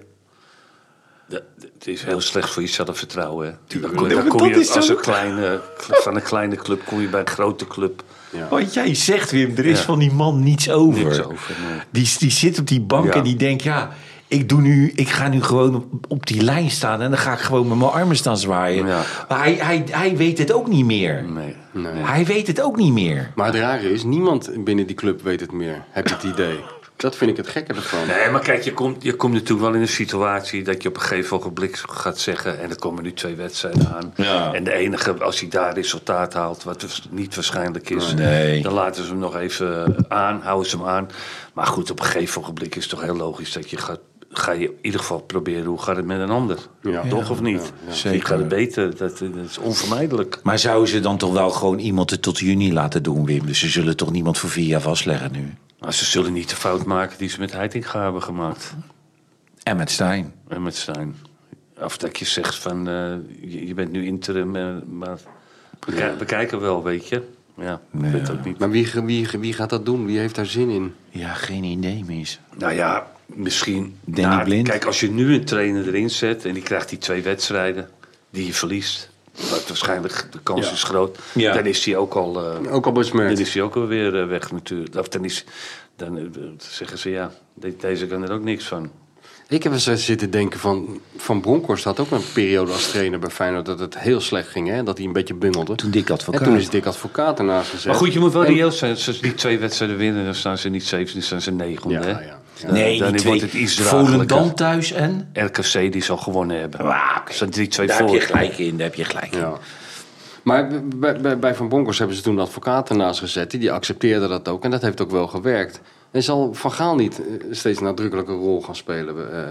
Speaker 5: dat- dat- Het is heel slecht voor je zelfvertrouwen. Hè. Dan kom,
Speaker 3: Nee,
Speaker 5: dan
Speaker 3: maar
Speaker 5: kom
Speaker 3: dat is
Speaker 5: je als
Speaker 3: zo-
Speaker 5: een kleine, van een kleine club kom je bij een grote club.
Speaker 3: Wat Oh, jij zegt, Wim, er is van die man niets over.
Speaker 5: Niks over, nee.
Speaker 3: die, die zit op die bank
Speaker 5: Ja.
Speaker 3: en die denkt, ja, ik, doe nu, ik ga nu gewoon op, op die lijn staan... en dan ga ik gewoon met mijn armen staan zwaaien.
Speaker 5: Ja.
Speaker 3: Maar hij, hij, hij weet het ook niet meer.
Speaker 5: Nee.
Speaker 3: Hij weet het ook niet meer.
Speaker 2: Maar het rare is, niemand binnen die club weet het meer, heb ik het idee. Dat vind ik het gekke ervan.
Speaker 5: nee, maar kijk, je komt, je komt natuurlijk wel in een situatie dat je op een gegeven ogenblik gaat zeggen. En er komen nu twee wedstrijden aan.
Speaker 3: Ja.
Speaker 5: En de enige, als hij daar resultaat haalt, wat dus niet waarschijnlijk is,
Speaker 3: Nee.
Speaker 5: dan laten ze hem nog even aan, houden ze hem aan. Maar goed, op een gegeven ogenblik is het toch heel logisch dat je gaat. Ga je in ieder geval proberen hoe gaat het met een ander?
Speaker 2: Ja.
Speaker 5: Toch of niet?
Speaker 3: Zeker.
Speaker 5: Wie gaat het beter? Dat, dat is onvermijdelijk.
Speaker 3: Maar zouden ze dan toch wel gewoon iemand het tot juni laten doen, Wim? Dus ze zullen toch niemand voor vier jaar vastleggen nu?
Speaker 5: Maar ze zullen niet de fout maken die ze met Heitinga hebben gemaakt.
Speaker 3: En met Stijn.
Speaker 5: En Eh, met Stijn. Of dat je zegt van, eh, je, je bent nu interim, eh, maar we, ki- we kijken wel, weet je. Ja, ik weet het ook niet.
Speaker 2: Maar wie, wie, wie gaat dat doen? Wie heeft daar zin in?
Speaker 3: Ja, geen idee, mis.
Speaker 5: Nou ja, misschien.
Speaker 3: Danny
Speaker 5: Nou,
Speaker 3: Blind.
Speaker 5: Kijk, als je nu een trainer erin zet en die krijgt die twee wedstrijden die je verliest. Wat waarschijnlijk de kans is groot.
Speaker 3: Ja.
Speaker 5: Dan is hij ook al. eh,
Speaker 2: Ook al
Speaker 5: dan
Speaker 2: besmet.
Speaker 5: is hij ook alweer eh, weg natuurlijk. Of dan, is, dan eh, zeggen ze ja, de- deze kan er ook niks van.
Speaker 2: Ik heb eens zitten denken van... Van Bronkhorst had ook een periode als trainer bij Feyenoord... dat het heel slecht ging, hè? Dat hij een beetje bungelde.
Speaker 3: Toen dik advocaat.
Speaker 2: En toen is Dick Advocaat ernaast gezet.
Speaker 5: Maar goed, je moet wel
Speaker 2: En-
Speaker 5: reëel zijn. Als ze die twee wedstrijden winnen, dan staan ze niet zeven, dan staan ze negende.
Speaker 2: Ja,
Speaker 5: hè? Eh,
Speaker 2: ja, ja.
Speaker 3: Nee,
Speaker 5: dan
Speaker 3: die twee.
Speaker 5: wordt het iets
Speaker 3: Volendam
Speaker 5: draaglijker.
Speaker 3: thuis en?
Speaker 5: RKC die zal gewonnen hebben. Er staan drie, twee
Speaker 3: Daar heb
Speaker 5: voor.
Speaker 3: je gelijk in, daar heb je gelijk in.
Speaker 2: Ja. Maar b- bij, bij- bij Van Bonkers hebben ze toen de advocaat ernaast gezet. Die, die accepteerde dat ook en dat heeft ook wel gewerkt. En zal Van Gaal niet eh, steeds een nadrukkelijke rol gaan spelen eh,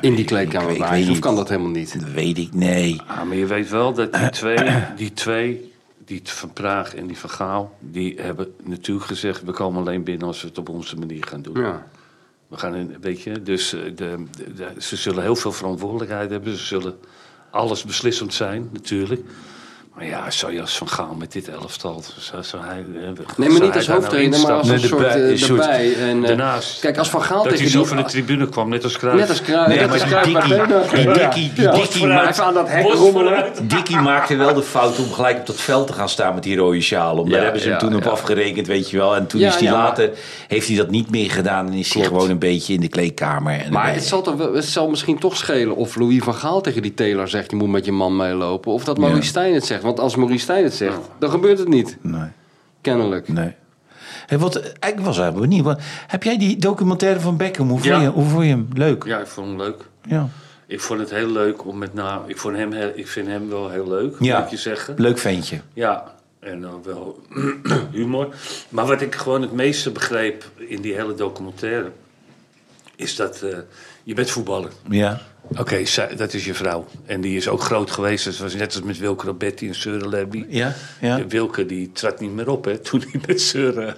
Speaker 2: in die kleedkamer? bij
Speaker 3: ik weet
Speaker 2: Ajax? Of
Speaker 3: niet.
Speaker 2: kan dat helemaal niet?
Speaker 3: Dat weet ik, nee.
Speaker 5: Ah, maar je weet wel dat die twee, die twee, die van Praag en die van Gaal, die hebben natuurlijk gezegd: we komen alleen binnen als we het op onze manier gaan doen.
Speaker 2: Ja.
Speaker 5: We gaan in, weet je, dus eh, de, de- de- ze zullen heel veel verantwoordelijkheid hebben. Ze zullen alles beslissend zijn, natuurlijk. Maar ja, zou je als Van Gaal met dit elftal... Zou, zou hij, nou
Speaker 2: Nee, maar niet als hoofdtrainer, maar als een soort
Speaker 5: erbij.
Speaker 2: eh, erbij. En, eh,
Speaker 5: Daarnaast.
Speaker 2: Kijk, als Van Gaal
Speaker 5: Dat hij
Speaker 2: tegen
Speaker 5: zo
Speaker 2: die...
Speaker 5: van de tribune kwam, net als Cruijff.
Speaker 2: Net als Kruijf.
Speaker 3: Nee,
Speaker 2: net
Speaker 3: maar
Speaker 2: als
Speaker 3: die
Speaker 2: Kruijf.
Speaker 3: Dikkie, die Dikkie, die Dikkie maakt-
Speaker 2: Even aan dat hek
Speaker 4: Bos
Speaker 2: rommelen.
Speaker 4: vooruit.
Speaker 3: Dikkie maakte wel de fout om gelijk op dat veld te gaan staan met die rode sjaal. om. Daar
Speaker 2: Ja,
Speaker 3: hebben ze hem
Speaker 2: ja,
Speaker 3: toen op
Speaker 2: ja.
Speaker 3: afgerekend, weet je wel. En toen
Speaker 2: Ja,
Speaker 3: is hij
Speaker 2: ja, maar-
Speaker 3: later, heeft hij dat niet meer gedaan en is hij gewoon een beetje in de kleedkamer. En
Speaker 2: Maar
Speaker 3: erbij.
Speaker 2: het zal, toch wel- het zal misschien toch schelen of Louis van Gaal tegen die teler zegt... je moet met je man meelopen. Of dat Maurice Stijn het zegt. Want als Maurice Stijn het zegt, dan gebeurt het niet.
Speaker 3: Nee,
Speaker 2: Kennelijk.
Speaker 3: nee. Hey, wat, ik was eigenlijk benieuwd. want Heb jij die documentaire van Beckham? Hoe vond,
Speaker 5: Ja.
Speaker 3: je, hoe vond je hem? Leuk. Ja.
Speaker 5: Ja, ik vond hem leuk.
Speaker 3: Ja.
Speaker 5: Ik vond het heel leuk om met name... Ik, vond hem heel- ik vind hem wel heel leuk, moet je zeggen.
Speaker 3: Leuk ventje.
Speaker 5: Ja, en dan wel humor. Maar wat ik gewoon het meeste begreep in die hele documentaire... is dat eh, je bent voetballer.
Speaker 3: Ja.
Speaker 5: Oké, zij- dat is je vrouw. En die is ook groot geweest. Dat was net als met Wilke Robetti en Seuren Lerby.
Speaker 3: Ja, ja.
Speaker 5: En Wilke die trad niet meer op hè, toen hij met Seuren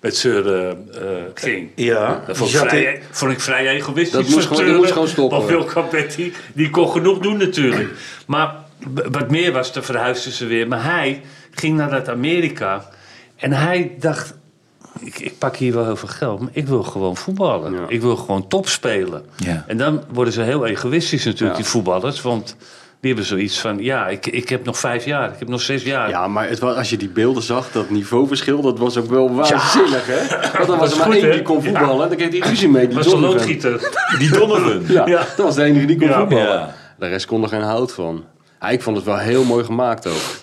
Speaker 5: met Seuren eh, ging.
Speaker 3: Ja.
Speaker 5: Dat vond ik,
Speaker 3: Die zat
Speaker 5: vrij, e- vond ik vrij egoïstisch.
Speaker 2: Dat moest
Speaker 5: van
Speaker 2: gewoon- die
Speaker 5: Seuren,
Speaker 2: moest gewoon stoppen.
Speaker 5: Want Wilke Robetti, die kon genoeg doen natuurlijk. Maar b- wat meer was, dan verhuisden ze weer. Maar hij ging naar dat Amerika. En hij dacht... Ik, ik pak hier wel heel veel geld, maar ik wil gewoon voetballen. Ik wil gewoon top spelen.
Speaker 3: Ja.
Speaker 5: En dan worden ze heel egoïstisch natuurlijk, die voetballers. Want die hebben zoiets van, ja, ik, ik heb nog vijf jaar, ik heb nog zes jaar.
Speaker 2: Ja, maar het was, als je die beelden zag, dat niveauverschil, dat was ook wel waanzinnig, hè? Want dan was er maar
Speaker 5: goed,
Speaker 2: één
Speaker 5: hè?
Speaker 2: die kon
Speaker 5: Ja.
Speaker 2: voetballen en dan kreeg hij ruzie mee. Die
Speaker 5: was een
Speaker 2: Donovan.
Speaker 5: loodgieter.
Speaker 3: Die Donovan.
Speaker 2: Ja,
Speaker 5: Ja.
Speaker 2: dat was de enige die kon
Speaker 5: Ja.
Speaker 2: voetballen.
Speaker 3: Ja.
Speaker 2: De rest kon er geen hout van. Ja, ik vond het wel heel mooi gemaakt ook,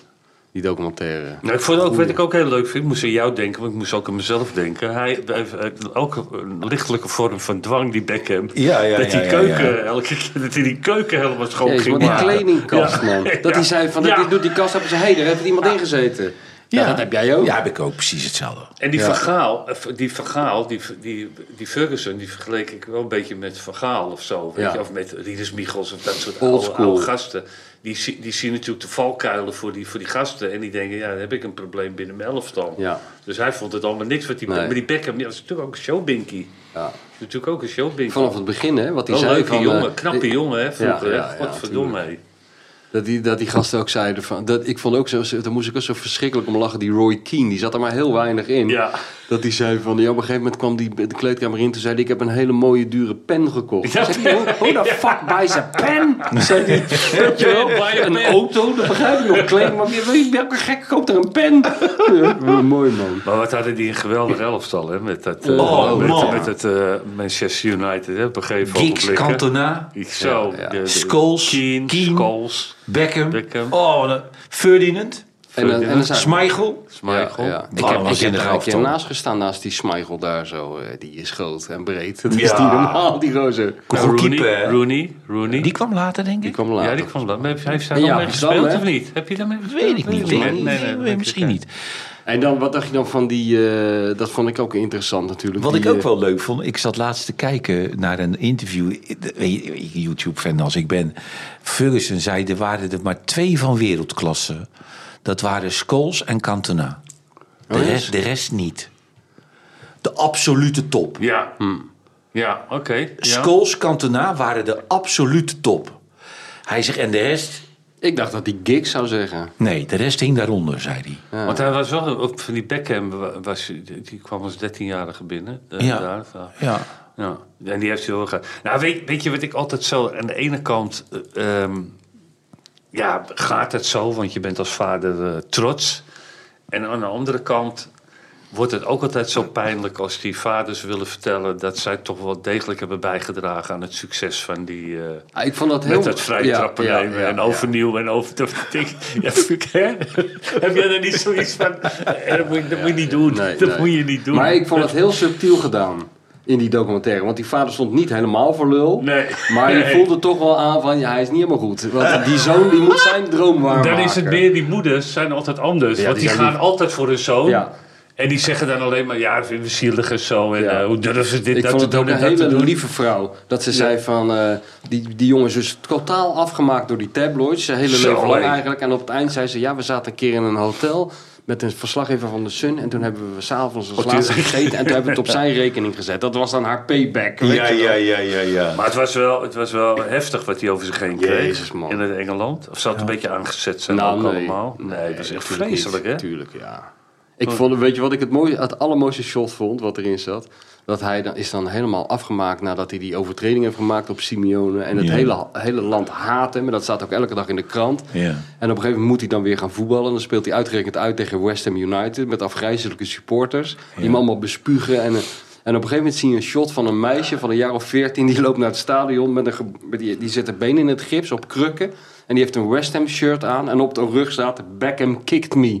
Speaker 2: die documentaire.
Speaker 5: Nou, ik vond ook, wat ik ook heel leuk vind, ik moest aan jou denken, want ik moest ook aan mezelf denken. Hij heeft heeft ook een lichtelijke vorm van dwang, die Beckham.
Speaker 3: Ja, ja,
Speaker 5: dat
Speaker 3: ja,
Speaker 5: die
Speaker 3: ja,
Speaker 5: keuken,
Speaker 3: ja.
Speaker 5: elke keer dat hij die keuken helemaal schoon
Speaker 2: Jezus, maar
Speaker 5: ging
Speaker 2: die
Speaker 5: maken.
Speaker 2: kledingkast, man. Dat hij zei van,
Speaker 5: Ja.
Speaker 2: dit doet die kast op zijn heen, daar heeft iemand ingezeten. Ja. dat heb jij ook.
Speaker 3: Ja, heb ik ook precies hetzelfde.
Speaker 5: En die vergaal, eh, die vergaal, die, die, die Ferguson, die vergeleek ik wel een beetje met vergaal of zo. Weet
Speaker 2: Ja.
Speaker 5: je? Of met Rieders Michels of dat soort
Speaker 2: Old
Speaker 5: oude,
Speaker 2: school.
Speaker 5: oude gasten. Die, zi- die zien natuurlijk de valkuilen voor die, voor die gasten. En die denken, ja, dan heb ik een probleem binnen mijn elftal.
Speaker 2: Ja.
Speaker 5: Dus hij vond het allemaal niks. Wat die,
Speaker 2: Nee.
Speaker 5: Maar die Beckham, ja, dat is natuurlijk ook een showbinky.
Speaker 2: Ja.
Speaker 5: Natuurlijk ook een showbinky.
Speaker 2: Vanaf het begin, hè, wat hij
Speaker 5: Wel een
Speaker 2: zei
Speaker 5: leuke
Speaker 2: van... eh,
Speaker 5: jongen, knappe jongen, hè, vroeger.
Speaker 2: ja,
Speaker 5: hè?
Speaker 2: ja,
Speaker 5: Godverdomme, hè.
Speaker 2: Dat die, dat die gasten ook zeiden van... Dat, ik vond ook zo, zo- daar moest ik ook zo verschrikkelijk om lachen. Die Roy Keane, die zat er maar heel weinig in.
Speaker 5: Ja.
Speaker 2: Dat die zei van... Ja, op een gegeven moment kwam die de kleedkamer in. Toen zei hij, ik heb een hele mooie dure pen gekocht.
Speaker 5: Ja.
Speaker 2: Zegt hij, hoe, hoe de fuck bij zijn pen? Zei die, weet je wel,
Speaker 5: Bij een
Speaker 2: een
Speaker 5: pen.
Speaker 2: auto, dat begrijp ik nog. Kleed, maar wie- wie- welke gek koopt er een pen? Ja, mooi man.
Speaker 5: Maar wat hadden die een geweldig elftal, hè? Met dat, eh,
Speaker 3: Oh,
Speaker 5: met,
Speaker 3: man.
Speaker 5: met het eh, Manchester United, hè? Op een gegeven
Speaker 3: Giggs,
Speaker 5: ogenblik, hè.
Speaker 3: Cantona,
Speaker 5: Ik Zo,
Speaker 2: Ja, ja.
Speaker 5: de- de-
Speaker 3: Scholes,
Speaker 5: Keane,
Speaker 3: Keane.
Speaker 5: Scholes,
Speaker 3: Beckham.
Speaker 5: Beckham.
Speaker 3: Oh, wat een- Ferdinand.
Speaker 2: En, dan- en dan zei-
Speaker 3: Smeichel.
Speaker 5: Michael.
Speaker 2: Ja, ja. Ik heb,
Speaker 3: Wat een
Speaker 2: ik heb
Speaker 3: waanzinnige
Speaker 2: er een keer
Speaker 3: elftal.
Speaker 2: naast gestaan, naast die Schmeichel daar zo. eh, Die is groot en breed. Dat is
Speaker 3: Ja.
Speaker 2: die normaal, die roze.
Speaker 3: Nou,
Speaker 5: Rooney,
Speaker 3: keeper, hè?
Speaker 5: Rooney, Rooney.
Speaker 3: Die kwam later, denk ik.
Speaker 2: Die kwam later.
Speaker 5: ja, die kwam dan. Maar Heeft heeft hij
Speaker 2: En
Speaker 5: daarmee
Speaker 2: Jaap
Speaker 5: gespeeld
Speaker 2: Stam, hè?
Speaker 5: of niet? Heb je daarmee gespeeld?
Speaker 3: Weet ik niet.
Speaker 5: Nee,
Speaker 3: Nee,
Speaker 5: nee, nee, nee, nee,
Speaker 3: misschien
Speaker 5: nee.
Speaker 3: niet.
Speaker 2: En dan, wat dacht je dan van die... eh, dat vond ik ook interessant natuurlijk.
Speaker 3: Wat
Speaker 2: die,
Speaker 3: ik ook
Speaker 2: eh,
Speaker 3: wel leuk vond, ik zat laatst te kijken naar een interview. Weet je, YouTube-fan als ik ben. Ferguson zei, er waren er maar twee van wereldklasse. Dat waren Scholes en Cantona. De,
Speaker 2: Oh, ja?
Speaker 3: rest, de rest niet. De absolute top.
Speaker 5: Ja, ja oké. Ja.
Speaker 3: Hm. Scholes, Cantona waren de absolute top. Hij zegt, en de rest...
Speaker 2: Ik dacht dat die Gig zou zeggen.
Speaker 3: Nee, de rest hing daaronder, zei hij.
Speaker 5: Want hij was wel, op van die Beckham, wa- was, die kwam als 13-jarige binnen. eh,
Speaker 3: Ja.
Speaker 5: daar, daar.
Speaker 3: Ja.
Speaker 5: Ja, en die heeft hij wel gedaan. Nou, weet, weet je wat ik altijd zo... Aan de ene kant... eh, ehm, ja, gaat het zo, want je bent als vader eh, trots. En aan de andere kant wordt het ook altijd zo pijnlijk... als die vaders willen vertellen... dat zij toch wel degelijk hebben bijgedragen... aan het succes van die... eh,
Speaker 2: Ah, ik vond dat heel...
Speaker 5: met dat vrije trappen nemen en overnieuw en over... Dat denk ik, ja, fuck, hè? Heb jij daar niet zoiets van... eh, Dat moet, je- dat moet je niet doen.
Speaker 2: Nee,
Speaker 5: dat
Speaker 2: nee.
Speaker 5: moet je niet doen.
Speaker 2: Maar ik vond het heel subtiel gedaan in die documentaire. Want die vader stond niet helemaal voor lul.
Speaker 5: Nee.
Speaker 2: Maar je
Speaker 5: Nee.
Speaker 2: voelde toch wel aan van, ja, hij is niet helemaal goed. Want die zoon, die moet zijn droom waarmaken.
Speaker 5: Dan is het meer, die moeders zijn altijd anders.
Speaker 2: Ja,
Speaker 5: want
Speaker 2: die
Speaker 5: die,
Speaker 2: zijn
Speaker 5: gaan altijd voor hun zoon.
Speaker 2: Ja.
Speaker 5: En die zeggen dan alleen maar, ja, dat vinden we zielig en zo. En
Speaker 2: Ja.
Speaker 5: eh, hoe durven ze dit
Speaker 2: Ik
Speaker 5: dat
Speaker 2: vond
Speaker 5: te
Speaker 2: het
Speaker 5: doen
Speaker 2: ook een
Speaker 5: en dat te
Speaker 2: hele
Speaker 5: doen?
Speaker 2: lieve vrouw. Dat ze zei van, eh, die, die jongen is dus totaal afgemaakt door die tabloids. Zijn hele
Speaker 5: Zo,
Speaker 2: leven lang
Speaker 5: hé.
Speaker 2: eigenlijk. En op het eind zei ze, ja, we zaten een keer in een hotel met een verslaggever van de Sun. En toen hebben we s'avonds als laatste gegeten. En toen hebben we het op zijn rekening gezet. Dat was dan haar payback. weet
Speaker 3: Ja,
Speaker 2: je wel.
Speaker 3: ja, ja, ja, ja.
Speaker 5: Maar het was, wel, het was wel heftig wat hij over zich heen kreeg.
Speaker 2: Jezus, man.
Speaker 5: In het Engeland. Of zat het een beetje aangezet zijn
Speaker 2: Nou,
Speaker 5: ook
Speaker 2: nee.
Speaker 5: allemaal. Nee, dat is echt
Speaker 2: tuurlijk
Speaker 5: vreselijk,
Speaker 2: niet.
Speaker 5: hè?
Speaker 2: Tuurlijk, ja. Ik vond, weet je wat ik het, mooie, het allermooiste shot vond, wat erin zat? Dat hij dan, is dan helemaal afgemaakt nadat hij die overtreding heeft gemaakt op Simeone. En het
Speaker 3: Ja.
Speaker 2: hele, hele land haat hem. En dat staat ook elke dag in de krant.
Speaker 3: Ja.
Speaker 2: En op een gegeven moment moet hij dan weer gaan voetballen. En dan speelt hij uitgerekend uit tegen West Ham United. Met afgrijzelijke supporters. Die hem allemaal bespugen. En, eh, en op een gegeven moment zie je een shot van een meisje van een jaar of veertien. Die loopt naar het stadion. Met een, ge- met die, die zet haar been in het gips op krukken. En die heeft een West Ham shirt aan. En op de rug staat Beckham kicked me.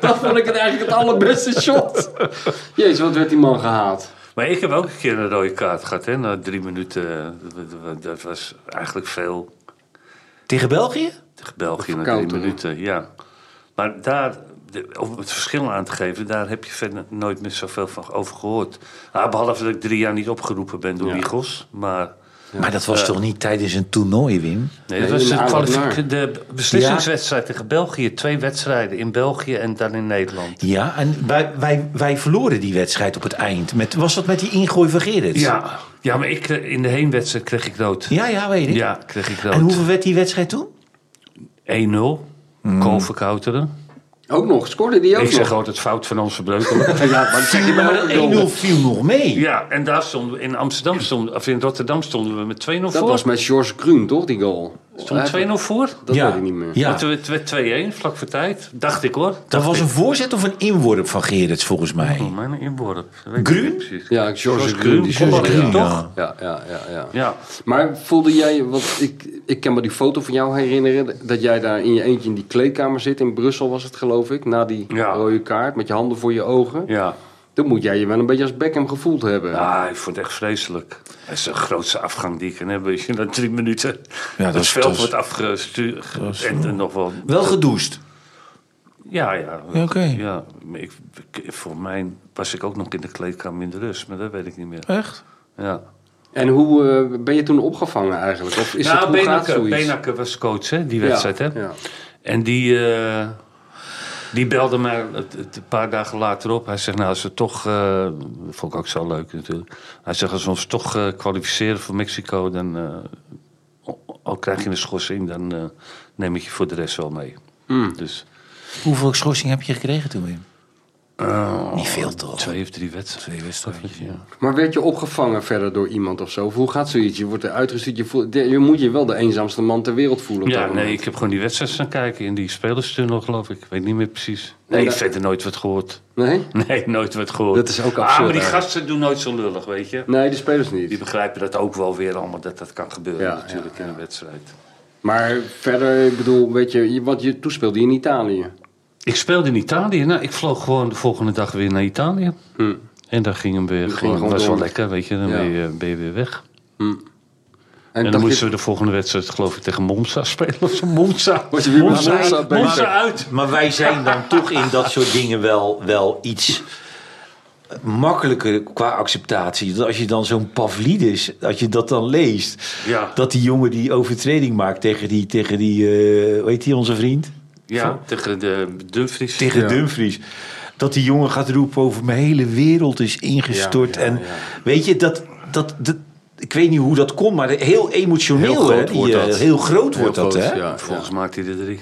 Speaker 2: dat vond ik het eigenlijk het allerbeste shot. Jezus, wat werd die man gehaald.
Speaker 5: Maar ik heb ook een keer een rode kaart gehad, hè? Na drie minuten. Dat was eigenlijk veel
Speaker 3: Tegen België?
Speaker 5: tegen België na drie
Speaker 2: Verkoud, hè?
Speaker 5: minuten. Ja. Maar daar, de- om het verschil aan te geven, daar heb je verder nooit meer zoveel van over gehoord. Ah, behalve dat ik drie jaar niet opgeroepen ben door
Speaker 2: Ja.
Speaker 5: Wiegels. Maar
Speaker 3: Maar dat was toch niet tijdens een toernooi, Wim?
Speaker 5: Nee,
Speaker 2: Nee,
Speaker 5: dat was
Speaker 2: in
Speaker 5: de,
Speaker 2: Oudenaar.
Speaker 5: kwalific- de beslissingswedstrijd tegen België. Twee wedstrijden in België en dan in Nederland.
Speaker 3: Ja, en wij, wij, wij verloren die wedstrijd op het eind. Met, was dat met die ingooi van Gerrits?
Speaker 5: Ja, ja maar ik, eh, in de heenwedstrijd kreeg ik rood.
Speaker 3: Ja, ja, weet ik.
Speaker 5: Ja, kreeg ik
Speaker 3: en
Speaker 5: rood.
Speaker 3: hoeveel werd die wedstrijd toen?
Speaker 5: 1-0.
Speaker 2: Mm.
Speaker 5: Koolverkouteren.
Speaker 2: Ook nog, scoorde die ook
Speaker 5: Ik
Speaker 2: nog.
Speaker 5: zeg altijd fout van onze breukelen.
Speaker 2: Ja, maar dat zeg je bij elke goal.
Speaker 3: 1-0 viel nog mee.
Speaker 5: ja, en daar stonden we, in Amsterdam stonden, of in Rotterdam stonden we met 2-0
Speaker 2: Dat
Speaker 5: voor.
Speaker 2: was met George Kruun, toch, die goal?
Speaker 5: Stond 2-0 voor.
Speaker 2: Dat
Speaker 3: Ja.
Speaker 2: weet ik niet meer.
Speaker 3: Ja.
Speaker 5: Want Het werd 2-1, vlak voor tijd. Dacht ik hoor.
Speaker 3: Dat
Speaker 5: Dacht
Speaker 3: was
Speaker 5: ik.
Speaker 3: een voorzet of een inworp van Gerrits, volgens mij.
Speaker 5: Oh, Mijn inworp. Weet ik
Speaker 3: Gruun?
Speaker 5: niet precies.
Speaker 2: Ja, George
Speaker 5: George
Speaker 2: Groen. Die
Speaker 5: Groen,
Speaker 2: scoorde,
Speaker 5: George Groen,
Speaker 2: ja.
Speaker 5: toch?
Speaker 2: Ja, ja, ja, ja.
Speaker 5: Ja.
Speaker 2: Maar voelde jij, want ik, ik kan me die foto van jou herinneren, dat jij daar in je eentje in die kleedkamer zit, in Brussel was het geloof ik, na die
Speaker 5: Ja.
Speaker 2: rode kaart, met je handen voor je ogen.
Speaker 5: Ja.
Speaker 2: Dan moet jij je wel een beetje als Beckham gevoeld hebben.
Speaker 5: Ja, ik vond het echt vreselijk. Dat is de grootste afgang die ik kan hebben. Als je na drie minuten
Speaker 3: Ja, dat
Speaker 5: het
Speaker 3: is-
Speaker 5: veld
Speaker 3: dat is-
Speaker 5: wordt afgestuurd. En, en nog wel...
Speaker 3: Wel gedoest.
Speaker 5: Ja, ja.
Speaker 3: Ja, oké.
Speaker 5: Ja, maar ik, ik- voor mij was ik ook nog in de kleedkamer in de rust. Maar dat weet ik niet meer.
Speaker 3: Echt?
Speaker 5: Ja.
Speaker 2: En hoe eh, ben je toen opgevangen eigenlijk? Of is het,
Speaker 5: nou,
Speaker 2: hoe gaat
Speaker 5: Benakke,
Speaker 2: zoiets?
Speaker 5: Benakke was coach, hè, die
Speaker 2: Ja,
Speaker 5: wedstrijd. Hè?
Speaker 2: ja.
Speaker 5: En die, eh, die belde mij het- het een paar dagen later op. Hij zegt, nou, als we toch... eh, dat vond ik ook zo leuk natuurlijk. Hij zegt, als we ons toch eh, kwalificeren voor Mexico... dan eh, al krijg je een schorsing, dan eh, neem ik je voor de rest wel mee. Dus
Speaker 3: Hoeveel schorsing heb je gekregen toen, Wim? Niet veel, toch?
Speaker 5: Oh, twee of drie wedstrijden.
Speaker 3: Twee wedstrijdjes, ja.
Speaker 2: Maar werd je opgevangen verder door iemand of zo? Of hoe gaat zoiets? Je wordt eruit gestuurd, je, voelt, je moet je wel de eenzaamste man ter wereld voelen. op
Speaker 5: Ja,
Speaker 2: dat moment.
Speaker 5: nee, ik heb gewoon die wedstrijd gaan kijken in die spelerstunnel, geloof ik. Ik weet niet meer precies.
Speaker 2: Nee,
Speaker 5: Nee,
Speaker 2: dat-
Speaker 5: verder nooit wat gehoord.
Speaker 2: Nee?
Speaker 5: Nee, nooit wat gehoord.
Speaker 2: Dat is ook
Speaker 5: Ah,
Speaker 2: absurd
Speaker 5: maar die
Speaker 2: eigenlijk.
Speaker 5: gasten doen nooit zo lullig, weet je.
Speaker 2: Nee, de spelers niet.
Speaker 5: Die begrijpen dat ook wel weer allemaal, dat dat kan gebeuren
Speaker 2: Ja,
Speaker 5: natuurlijk
Speaker 2: ja,
Speaker 5: in
Speaker 2: ja.
Speaker 5: een wedstrijd.
Speaker 2: Maar verder, ik bedoel, weet je, je- wat je toespeelde in Italië.
Speaker 5: Ik speelde in Italië. Nou, ik vloog gewoon de volgende dag weer naar Italië. En daar ging hem weer
Speaker 2: Hm. ging
Speaker 5: gewoon,
Speaker 2: gewoon
Speaker 5: was
Speaker 2: door.
Speaker 5: wel lekker, weet je. Dan
Speaker 2: Ja.
Speaker 5: ben, je, ben je weer weg.
Speaker 2: En,
Speaker 5: En,
Speaker 2: dacht
Speaker 5: dan
Speaker 2: je-
Speaker 5: moesten we de volgende wedstrijd, geloof ik, tegen Monza spelen. Of zo. Monza.
Speaker 2: Was je weer bij
Speaker 5: Monza,
Speaker 2: Monza
Speaker 5: uit,
Speaker 2: bezig?
Speaker 5: Monza uit.
Speaker 3: Maar wij zijn dan toch in dat soort dingen wel, wel iets makkelijker qua acceptatie. Dat als je dan zo'n Pavlidis, als je dat dan leest,
Speaker 5: Ja.
Speaker 3: dat die jongen die overtreding maakt tegen die, tegen die eh, hoe heet die onze vriend?
Speaker 5: Ja, tegen de Dumfries.
Speaker 3: Tegen
Speaker 2: Ja.
Speaker 3: Dumfries. Dat die jongen gaat roepen over mijn hele wereld is ingestort.
Speaker 2: Ja, ja,
Speaker 3: en
Speaker 2: ja.
Speaker 3: weet je, dat, dat, dat, ik weet niet hoe dat komt, maar heel emotioneel.
Speaker 2: Heel groot
Speaker 3: hè, die,
Speaker 2: wordt
Speaker 3: eh,
Speaker 2: dat.
Speaker 3: Heel groot
Speaker 2: Heel
Speaker 3: wordt dat,
Speaker 2: groot,
Speaker 3: hè?
Speaker 2: ja,
Speaker 5: Volgens
Speaker 2: ja.
Speaker 5: maakte hij er drie.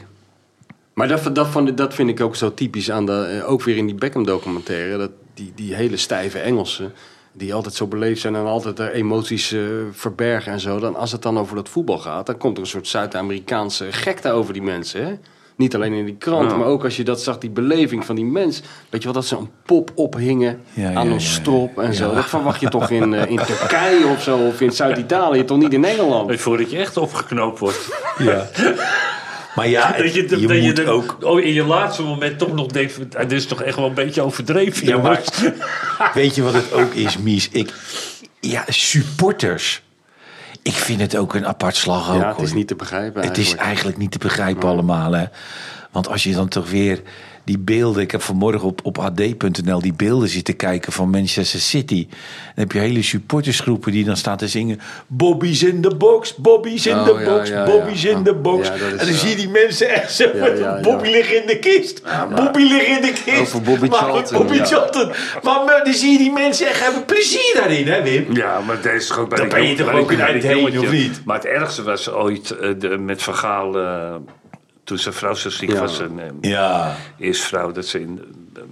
Speaker 2: Maar dat, dat, van, dat vind ik ook zo typisch aan de, eh, ook weer in die Beckham documentaire, dat die, die hele stijve Engelsen, die altijd zo beleefd zijn en altijd haar emoties eh, verbergen en zo. Dan, als het dan over dat voetbal gaat, dan komt er een soort Zuid-Amerikaanse gekte over die mensen, hè? Niet alleen in die krant,
Speaker 5: Ja.
Speaker 2: maar ook als je dat zag, die beleving van die mens. Weet je wel, dat ze een pop ophingen
Speaker 3: Ja,
Speaker 2: aan
Speaker 3: ja,
Speaker 2: een
Speaker 3: ja,
Speaker 2: strop en zo. Dat verwacht je toch in, eh, in Turkije of zo, of in Zuid-Italië, toch niet in Engeland?
Speaker 5: Voordat je echt opgeknoopt wordt.
Speaker 3: Ja. Maar ja,
Speaker 5: Dat je,
Speaker 3: je
Speaker 5: dat je
Speaker 3: moet
Speaker 5: dan
Speaker 3: ook...
Speaker 5: oh, in je laatste moment toch nog denkt: van, ah, dit is toch echt wel een beetje overdreven.
Speaker 3: Ja, maar-
Speaker 5: jongens.
Speaker 3: Weet je wat het ook is, Mies? Ik, ja, supporters. Ik vind het ook een apart slag. ook,
Speaker 2: Ja, het is
Speaker 3: hoor.
Speaker 2: niet te begrijpen
Speaker 3: Het is
Speaker 2: eigenlijk.
Speaker 3: eigenlijk niet te begrijpen allemaal, hè. Want als je dan toch weer die beelden. Ik heb vanmorgen op, op ad.nl die beelden zitten kijken van Manchester City. Dan heb je hele supportersgroepen die dan staan te zingen: Bobby's in the box, Bobby's in
Speaker 2: Oh,
Speaker 3: the
Speaker 2: ja,
Speaker 3: box,
Speaker 2: ja,
Speaker 3: Bobby's
Speaker 2: ja.
Speaker 3: in the box.
Speaker 2: Ja, dat is,
Speaker 3: en dan
Speaker 2: ja.
Speaker 3: zie je die mensen echt zo:
Speaker 2: Ja,
Speaker 3: met
Speaker 2: ja, ja.
Speaker 3: Bobby ligt in de kist, Bobby ligt in de kist.
Speaker 2: Over Bobby
Speaker 3: maar,
Speaker 2: Charlton,
Speaker 3: Bobby
Speaker 2: ja.
Speaker 3: Charlton. Maar, maar dan zie je die mensen echt hebben plezier daarin, hè, Wim?
Speaker 5: Ja, maar deze is toch ook bij
Speaker 3: Dan
Speaker 5: de
Speaker 3: ben je
Speaker 5: jong-
Speaker 3: toch
Speaker 5: bij de-
Speaker 3: ook een
Speaker 5: bij de
Speaker 3: uitheen,
Speaker 5: jongetje.
Speaker 3: of niet?
Speaker 5: Maar het ergste was ooit eh, de- met Vergaal. toen zijn vrouw zo ziek
Speaker 2: Ja.
Speaker 5: was. En, eh,
Speaker 3: Ja.
Speaker 5: eerst vrouw dat ze in,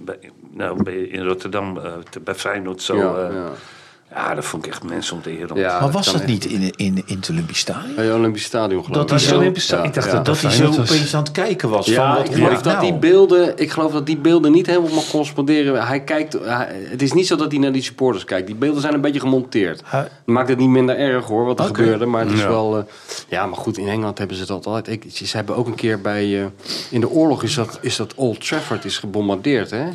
Speaker 5: bij, nou, bij, in Rotterdam eh, te- bij Feyenoord zo...
Speaker 2: Ja,
Speaker 5: eh,
Speaker 2: ja.
Speaker 5: ja, dat vond ik echt mensontherend.
Speaker 2: Ja,
Speaker 3: maar was dat,
Speaker 2: kan echt.
Speaker 3: niet in, in, in het Olympisch Stadion?
Speaker 2: Bij het Olympisch Stadion geloof
Speaker 3: Dat
Speaker 2: ik.
Speaker 3: is zo-
Speaker 5: Olympisch Stadion. Ik dacht dat
Speaker 3: Dat hij zo
Speaker 6: Feyenoord was-
Speaker 3: opeens aan het kijken was.
Speaker 2: Ja,
Speaker 3: van wat
Speaker 2: ik
Speaker 3: word
Speaker 2: geloof
Speaker 3: ik
Speaker 2: dat
Speaker 3: nou?
Speaker 2: die beelden, ik geloof dat die beelden niet helemaal corresponderen. Hij kijkt, hij- het is niet zo dat hij naar die supporters kijkt. Die beelden zijn een beetje gemonteerd.
Speaker 6: Hij-
Speaker 2: Maakt het niet minder erg hoor, wat er
Speaker 3: Oké.
Speaker 2: gebeurde. Maar het is wel. eh, ja, maar goed, in Engeland hebben ze dat altijd. Ik, ze hebben ook een keer bij. eh, in de oorlog is dat, is dat Old Trafford is gebombardeerd, hè?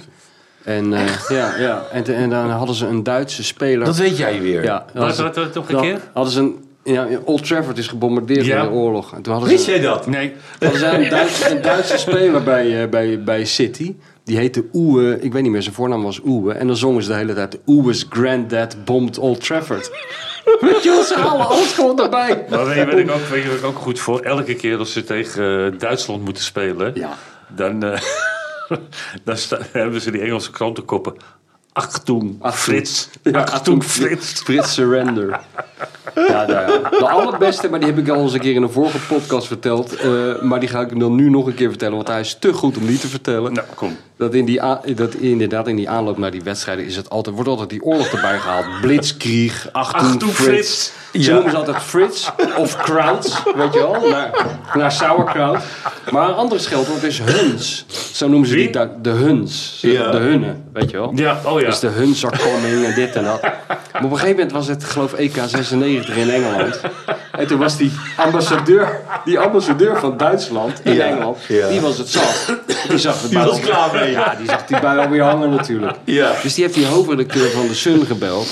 Speaker 2: En, eh, ja, ja. En, en dan hadden ze een Duitse speler.
Speaker 3: Dat weet jij weer.
Speaker 2: ja, dan
Speaker 5: Wat-
Speaker 2: hadden
Speaker 5: wat-
Speaker 2: ze-
Speaker 5: wat nog een
Speaker 2: dan
Speaker 5: keer?
Speaker 2: Hadden ze een, ja, Old Trafford is gebombardeerd
Speaker 5: Ja.
Speaker 2: in de oorlog. En toen hadden
Speaker 3: Wist
Speaker 2: ze,
Speaker 3: jij dat?
Speaker 5: Nee,
Speaker 2: er zijn een Duitse, een Duitse speler bij, eh, bij, bij City. Die heette Oewe. Ik weet niet meer, zijn voornaam was Oewe. En dan zongen ze de hele tijd... Oewe's granddad bombed Old Trafford. weet je wel, ze halen alles gewoon erbij.
Speaker 5: maar weet je wat ik ook, weet je wat ik ook goed voor? Elke keer als ze tegen eh, Duitsland moeten spelen...
Speaker 2: Ja.
Speaker 5: dan, eh, dan sta- hebben ze die Engelse krantenkoppen. Achtung, Frits. Achtung, Frits.
Speaker 2: Frits Surrender. Ja, nou ja. De allerbeste, maar die heb ik al eens een keer in een vorige podcast verteld. eh, maar die ga ik hem dan nu nog een keer vertellen, want hij is te goed om die te vertellen.
Speaker 5: Nou, kom.
Speaker 2: Dat, in die a- dat inderdaad in die aanloop naar die wedstrijden is het altijd, wordt altijd die oorlog erbij gehaald. Blitzkrieg, Achtung,
Speaker 5: Achtung,
Speaker 2: Frits.
Speaker 5: Frits.
Speaker 2: Ze noemen ze altijd Frits of Kraut, weet je wel, naar, naar sauerkraut. Maar een ander scheldwoord is Huns. Zo noemen ze die
Speaker 5: Wie?
Speaker 2: Du- de Huns, Ze-
Speaker 3: Ja.
Speaker 2: de Hunnen, weet je wel.
Speaker 5: Ja, oh ja.
Speaker 2: Dus de Huns are coming en dit en dat. Maar op een gegeven moment was het, geloof ik, EK96 in Engeland. En toen was die ambassadeur, die ambassadeur van Duitsland in
Speaker 3: Ja,
Speaker 2: Engeland,
Speaker 3: ja.
Speaker 2: die was het zat. Die zag de bui
Speaker 3: was
Speaker 2: al-
Speaker 3: klaar mee.
Speaker 2: Ja, die zag die bui alweer hangen natuurlijk.
Speaker 3: Ja.
Speaker 2: Dus die heeft die hoofdredacteur van de Sun gebeld.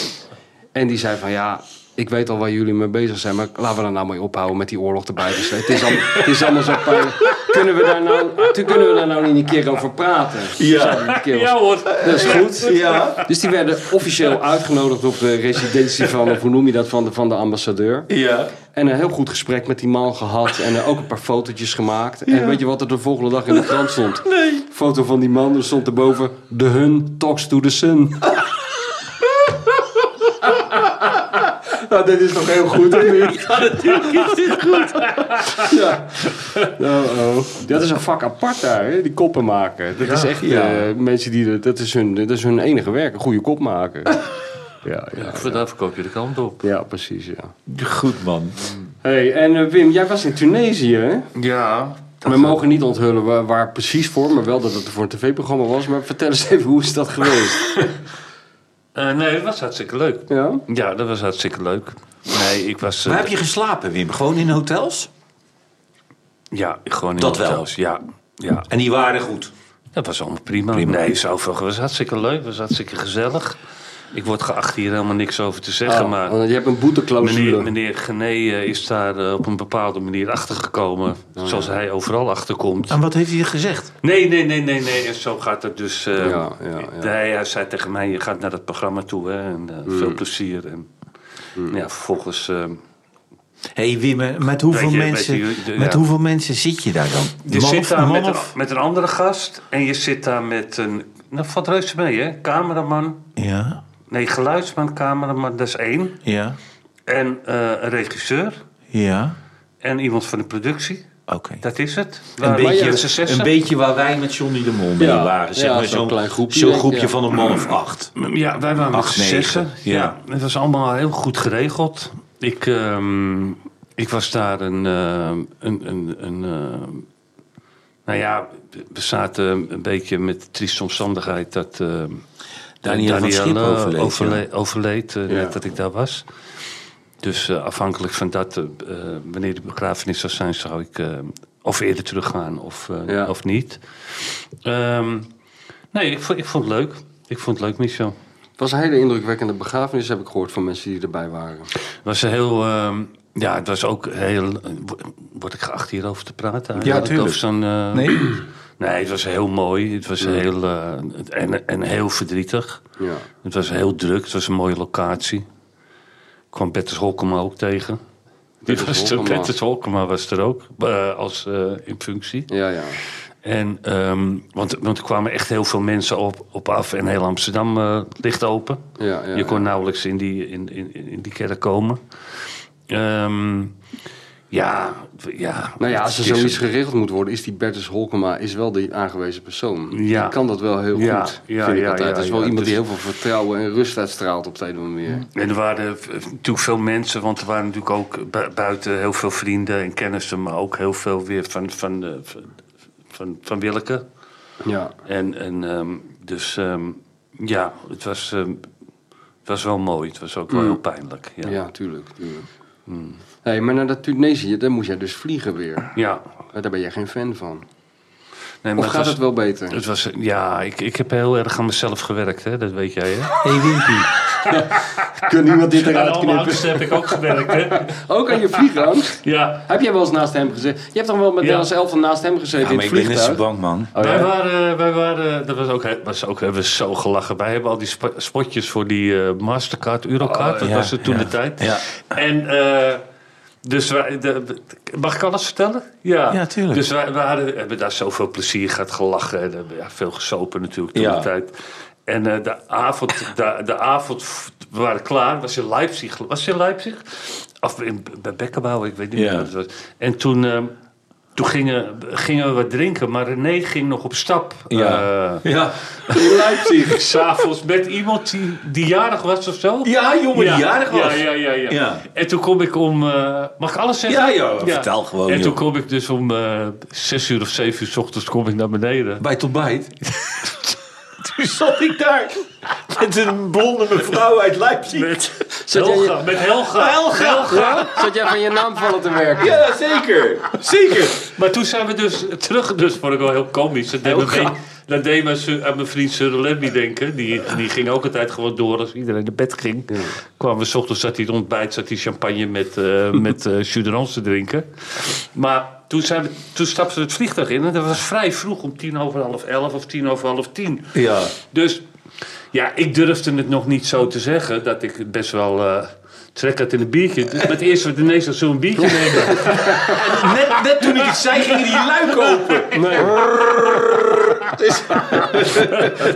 Speaker 2: En die zei van ja, ik weet al waar jullie mee bezig zijn, maar laten we er nou mee ophouden met die oorlog erbij. Dus het is allemaal, het is allemaal zo pijnlijk. Kunnen we daar nou, toen kunnen we daar nou niet een keer over praten? Zouden we een keer
Speaker 5: Ja
Speaker 2: over-
Speaker 5: hoor.
Speaker 2: Dat is goed.
Speaker 3: Ja.
Speaker 2: Dus die werden officieel uitgenodigd op de residentie van, of hoe noem je dat, van de, van de ambassadeur.
Speaker 3: Ja.
Speaker 2: En een heel goed gesprek met die man gehad. En eh, ook een paar fotootjes gemaakt. En weet je wat er de volgende dag in de krant stond? Nee. Foto van die man, er stond erboven... De Hun talks to the sun. nou, dit is nog heel goed, of niet? Ja, natuurlijk is dit goed. ja. Oh, oh. Dat is een vak apart daar, hè? die koppen maken. Dat is echt
Speaker 3: Ja.
Speaker 2: eh, mensen die... Dat is, hun, dat is hun enige werk, een goede kop maken. ja, ja.
Speaker 5: Daar verkoop je de kant op.
Speaker 2: ja, precies, ja.
Speaker 3: Goed man.
Speaker 2: Hey, en eh, Wim, jij was in Tunesië, hè?
Speaker 5: Ja.
Speaker 2: We mogen niet onthullen waar, waar precies voor, maar wel dat het voor een tv-programma was. Maar vertel eens even, hoe is dat geweest?
Speaker 5: Eh, nee, dat was hartstikke leuk.
Speaker 2: Ja?
Speaker 5: Ja, dat was hartstikke leuk. Nee, ik was... eh,
Speaker 3: Waar heb je geslapen Wim? Gewoon in hotels?
Speaker 5: Ja, gewoon in
Speaker 3: Dat wel.
Speaker 5: hotels. Ja, ja,
Speaker 3: En die waren goed.
Speaker 5: dat was allemaal prima. Nee, zoveel. Het was hartstikke leuk, het was hartstikke gezellig. Ik word geacht hier helemaal niks over te zeggen,
Speaker 2: Oh,
Speaker 5: maar...
Speaker 2: want je hebt een
Speaker 5: Meneer,
Speaker 2: boeteclausule.
Speaker 5: meneer Gené eh, is daar eh, op een bepaalde manier
Speaker 3: Oh,
Speaker 5: achtergekomen. Zoals hij overal achterkomt.
Speaker 3: En wat heeft hij gezegd?
Speaker 5: Nee, nee, nee, nee, nee. En zo gaat het dus. eh,
Speaker 2: Ja, ja, ja. Mm.
Speaker 5: Hij, hij zei tegen mij: Je gaat naar dat programma toe. Hè, en, eh, Veel plezier. En, ja, vervolgens. eh,
Speaker 3: Hé hey, Wim, eh, met hoeveel,
Speaker 5: Weet je,
Speaker 3: mensen,
Speaker 5: weet je, de-
Speaker 3: met
Speaker 5: ja.
Speaker 3: hoeveel mensen zit je daar dan?
Speaker 5: je
Speaker 3: Man
Speaker 5: zit
Speaker 3: of-
Speaker 5: daar
Speaker 3: man
Speaker 5: met een,
Speaker 3: of-
Speaker 5: met een andere gast. En je zit daar met een. Nou, valt reuze mee, hè? Cameraman.
Speaker 3: Ja,
Speaker 5: Nee, geluidsman, cameraman, dat is één.
Speaker 3: ja,
Speaker 5: En eh, een regisseur.
Speaker 3: ja.
Speaker 5: En iemand van de productie.
Speaker 3: Oké.
Speaker 5: Dat is het.
Speaker 3: Een beetje,
Speaker 5: een
Speaker 3: een beetje waar wij met Johnny de Mol mee
Speaker 2: Ja,
Speaker 3: waren. Zeg
Speaker 2: ja,
Speaker 3: maar
Speaker 2: zo'n
Speaker 3: zo'n
Speaker 2: klein groepje,
Speaker 3: Zo'n
Speaker 2: denk ik,
Speaker 3: groepje
Speaker 2: ja.
Speaker 3: van een man of acht.
Speaker 5: Ja, wij waren
Speaker 3: Acht,
Speaker 5: met z'n
Speaker 3: negen.
Speaker 5: zessen. Ja.
Speaker 3: Ja.
Speaker 5: het was allemaal heel goed geregeld. Ik, ehm, ik was daar een, ehm, een, een, een ehm, nou ja, we zaten een beetje met de trieste omstandigheid dat ehm,
Speaker 3: Daniel van Schip
Speaker 5: eh,
Speaker 3: overleed, ja.
Speaker 5: overle- overleed, eh,
Speaker 2: Ja.
Speaker 5: net dat ik daar was. Dus eh, afhankelijk van dat, eh, eh, wanneer de begrafenis zou zijn, zou ik eh, of eerder teruggaan of, eh,
Speaker 2: Ja.
Speaker 5: of niet. Ehm, nee, ik vond, ik vond het leuk. Ik vond het leuk, Michel.
Speaker 2: Het was een hele indrukwekkende begrafenis, heb ik gehoord van mensen die erbij waren.
Speaker 5: Het was een heel, ehm, Ja, het was ook heel... Word ik geacht hierover te praten?
Speaker 3: Ja,
Speaker 5: Over
Speaker 3: tuurlijk.
Speaker 5: zo'n, eh,
Speaker 3: Nee. Mm.
Speaker 5: Nee, het was heel mooi. Het was heel... eh, en, en heel verdrietig.
Speaker 2: Ja.
Speaker 5: Het was heel druk. Het was een mooie locatie. Ik kwam Bertus Holkema ook tegen. Die
Speaker 2: Bertus
Speaker 5: was er,
Speaker 2: Holkema.
Speaker 5: Bertus Holkema was er ook. eh, als, eh, in functie.
Speaker 2: Ja, ja.
Speaker 5: En, ehm, want, want er kwamen echt heel veel mensen op, op af en heel Amsterdam eh, ligt open.
Speaker 2: Ja, ja,
Speaker 5: je kon
Speaker 2: ja.
Speaker 5: nauwelijks in die, in, in, in die kerk komen. Ehm, ja, w- ja.
Speaker 2: Nou ja,
Speaker 5: het
Speaker 2: als er
Speaker 5: is-
Speaker 2: zoiets geregeld moet worden, is die Bertus Holkema is wel de aangewezen persoon.
Speaker 5: Ja.
Speaker 2: Die kan dat wel heel
Speaker 5: Ja,
Speaker 2: goed,
Speaker 5: ja,
Speaker 2: vind ik
Speaker 5: ja,
Speaker 2: altijd.
Speaker 5: ja,
Speaker 2: dat is wel
Speaker 5: ja.
Speaker 2: iemand die
Speaker 5: Dus-
Speaker 2: heel veel vertrouwen en rust uitstraalt op de een of andere manier.
Speaker 5: En er waren eh, natuurlijk veel mensen, want er waren natuurlijk ook bu- buiten heel veel vrienden en kennissen, maar ook heel veel weer van, van, eh, van, van, van Willeke.
Speaker 2: Ja.
Speaker 5: En, en ehm, dus ehm, ja, het was, ehm, het was wel mooi. Het was ook wel heel pijnlijk.
Speaker 2: Mm. Ja.
Speaker 5: Ja. Ja.
Speaker 2: tuurlijk. tuurlijk. Hmm. Hey, maar naar dat Tunesië, daar moest jij dus vliegen weer. Eh, Daar ben jij geen fan van.
Speaker 5: Nee,
Speaker 2: Of
Speaker 5: maar
Speaker 2: gaat
Speaker 5: was-
Speaker 2: het wel beter?
Speaker 5: Het was, ja, ik, ik heb heel erg aan mezelf gewerkt, hè? dat weet jij. Hè?
Speaker 3: hey, Wimpy.
Speaker 2: Kun niemand dit
Speaker 5: Aan
Speaker 2: eruit
Speaker 5: alle
Speaker 2: knippen?
Speaker 5: angsten heb ik ook gewerkt. Hè?
Speaker 2: Ook aan je vliegangst?
Speaker 5: Ja.
Speaker 2: Heb jij wel eens naast hem gezeten? Je hebt toch wel met
Speaker 5: Ja.
Speaker 2: Nederlands elftal naast hem gezeten
Speaker 3: Ja,
Speaker 2: in
Speaker 3: maar
Speaker 2: het
Speaker 3: ik ben net zo
Speaker 2: vliegtuig?
Speaker 3: bang, man.
Speaker 2: Oh, ja?
Speaker 5: Wij waren, wij waren, dat was ook, he- was ook, hebben we zo gelachen. Wij hebben al die sp- spotjes voor die eh, Mastercard, Eurocard, dat
Speaker 3: Oh, ja,
Speaker 5: was er toen
Speaker 3: ja.
Speaker 5: de tijd.
Speaker 3: Ja.
Speaker 5: En eh, dus wij, de- mag ik alles vertellen? Ja,
Speaker 3: Ja, tuurlijk.
Speaker 5: Dus wij, wij hadden, hebben daar zoveel plezier gehad, gelachen. En, hebben ja, veel gesopen natuurlijk toen
Speaker 3: Ja.
Speaker 5: de tijd. En eh, de avond, de, de avond, f- we waren klaar, was in Leipzig. Was het in Leipzig? Of in, bij Bekkenbouw, ik weet niet
Speaker 3: Ja.
Speaker 5: meer wat het was. En toen, eh, toen gingen, gingen we wat drinken, maar René ging nog op stap.
Speaker 3: Ja.
Speaker 5: eh,
Speaker 3: Ja,
Speaker 2: In Leipzig.
Speaker 5: S'avonds met iemand die, die jarig was of zo.
Speaker 3: ja jongen, die jarig was.
Speaker 5: Ja, ja, ja, ja.
Speaker 3: Ja.
Speaker 5: En toen kom ik om... eh, mag ik alles zeggen?
Speaker 3: Ja, joh, vertel gewoon,
Speaker 5: En toen
Speaker 3: joh.
Speaker 5: kom ik dus om eh, zes uur of zeven uur s ochtends kom ik naar beneden.
Speaker 3: Bij ontbijt. Toen zat ik daar met een blonde mevrouw uit Leipzig.
Speaker 5: Met
Speaker 2: Zat jij,
Speaker 5: Helga. Met Helga.
Speaker 3: Helga.
Speaker 2: zat jij van je naam vallen te werken?
Speaker 3: Ja, zeker. Zeker.
Speaker 5: Maar toen zijn we dus terug. Dus vond ik wel heel komisch. Dat deed, me mee- dat deed me su- aan mijn vriend Surlembi denken. Die, die ging ook altijd gewoon door als iedereen naar bed ging. Kwamen we 's ochtends, zat hij het ontbijt, zat hij champagne met, eh met eh Jus de Rance te drinken. Maar toen, zijn we, toen stapten we het vliegtuig in. En dat was vrij vroeg, om tien over half elf of tien over half tien.
Speaker 3: Ja.
Speaker 5: Dus ja, ik durfde het nog niet zo te zeggen dat ik het best wel eh, trek had in een biertje. Dus met eerst wat ineens als zo'n biertje nemen.
Speaker 3: Net, net toen ik het zei, gingen die luiken open.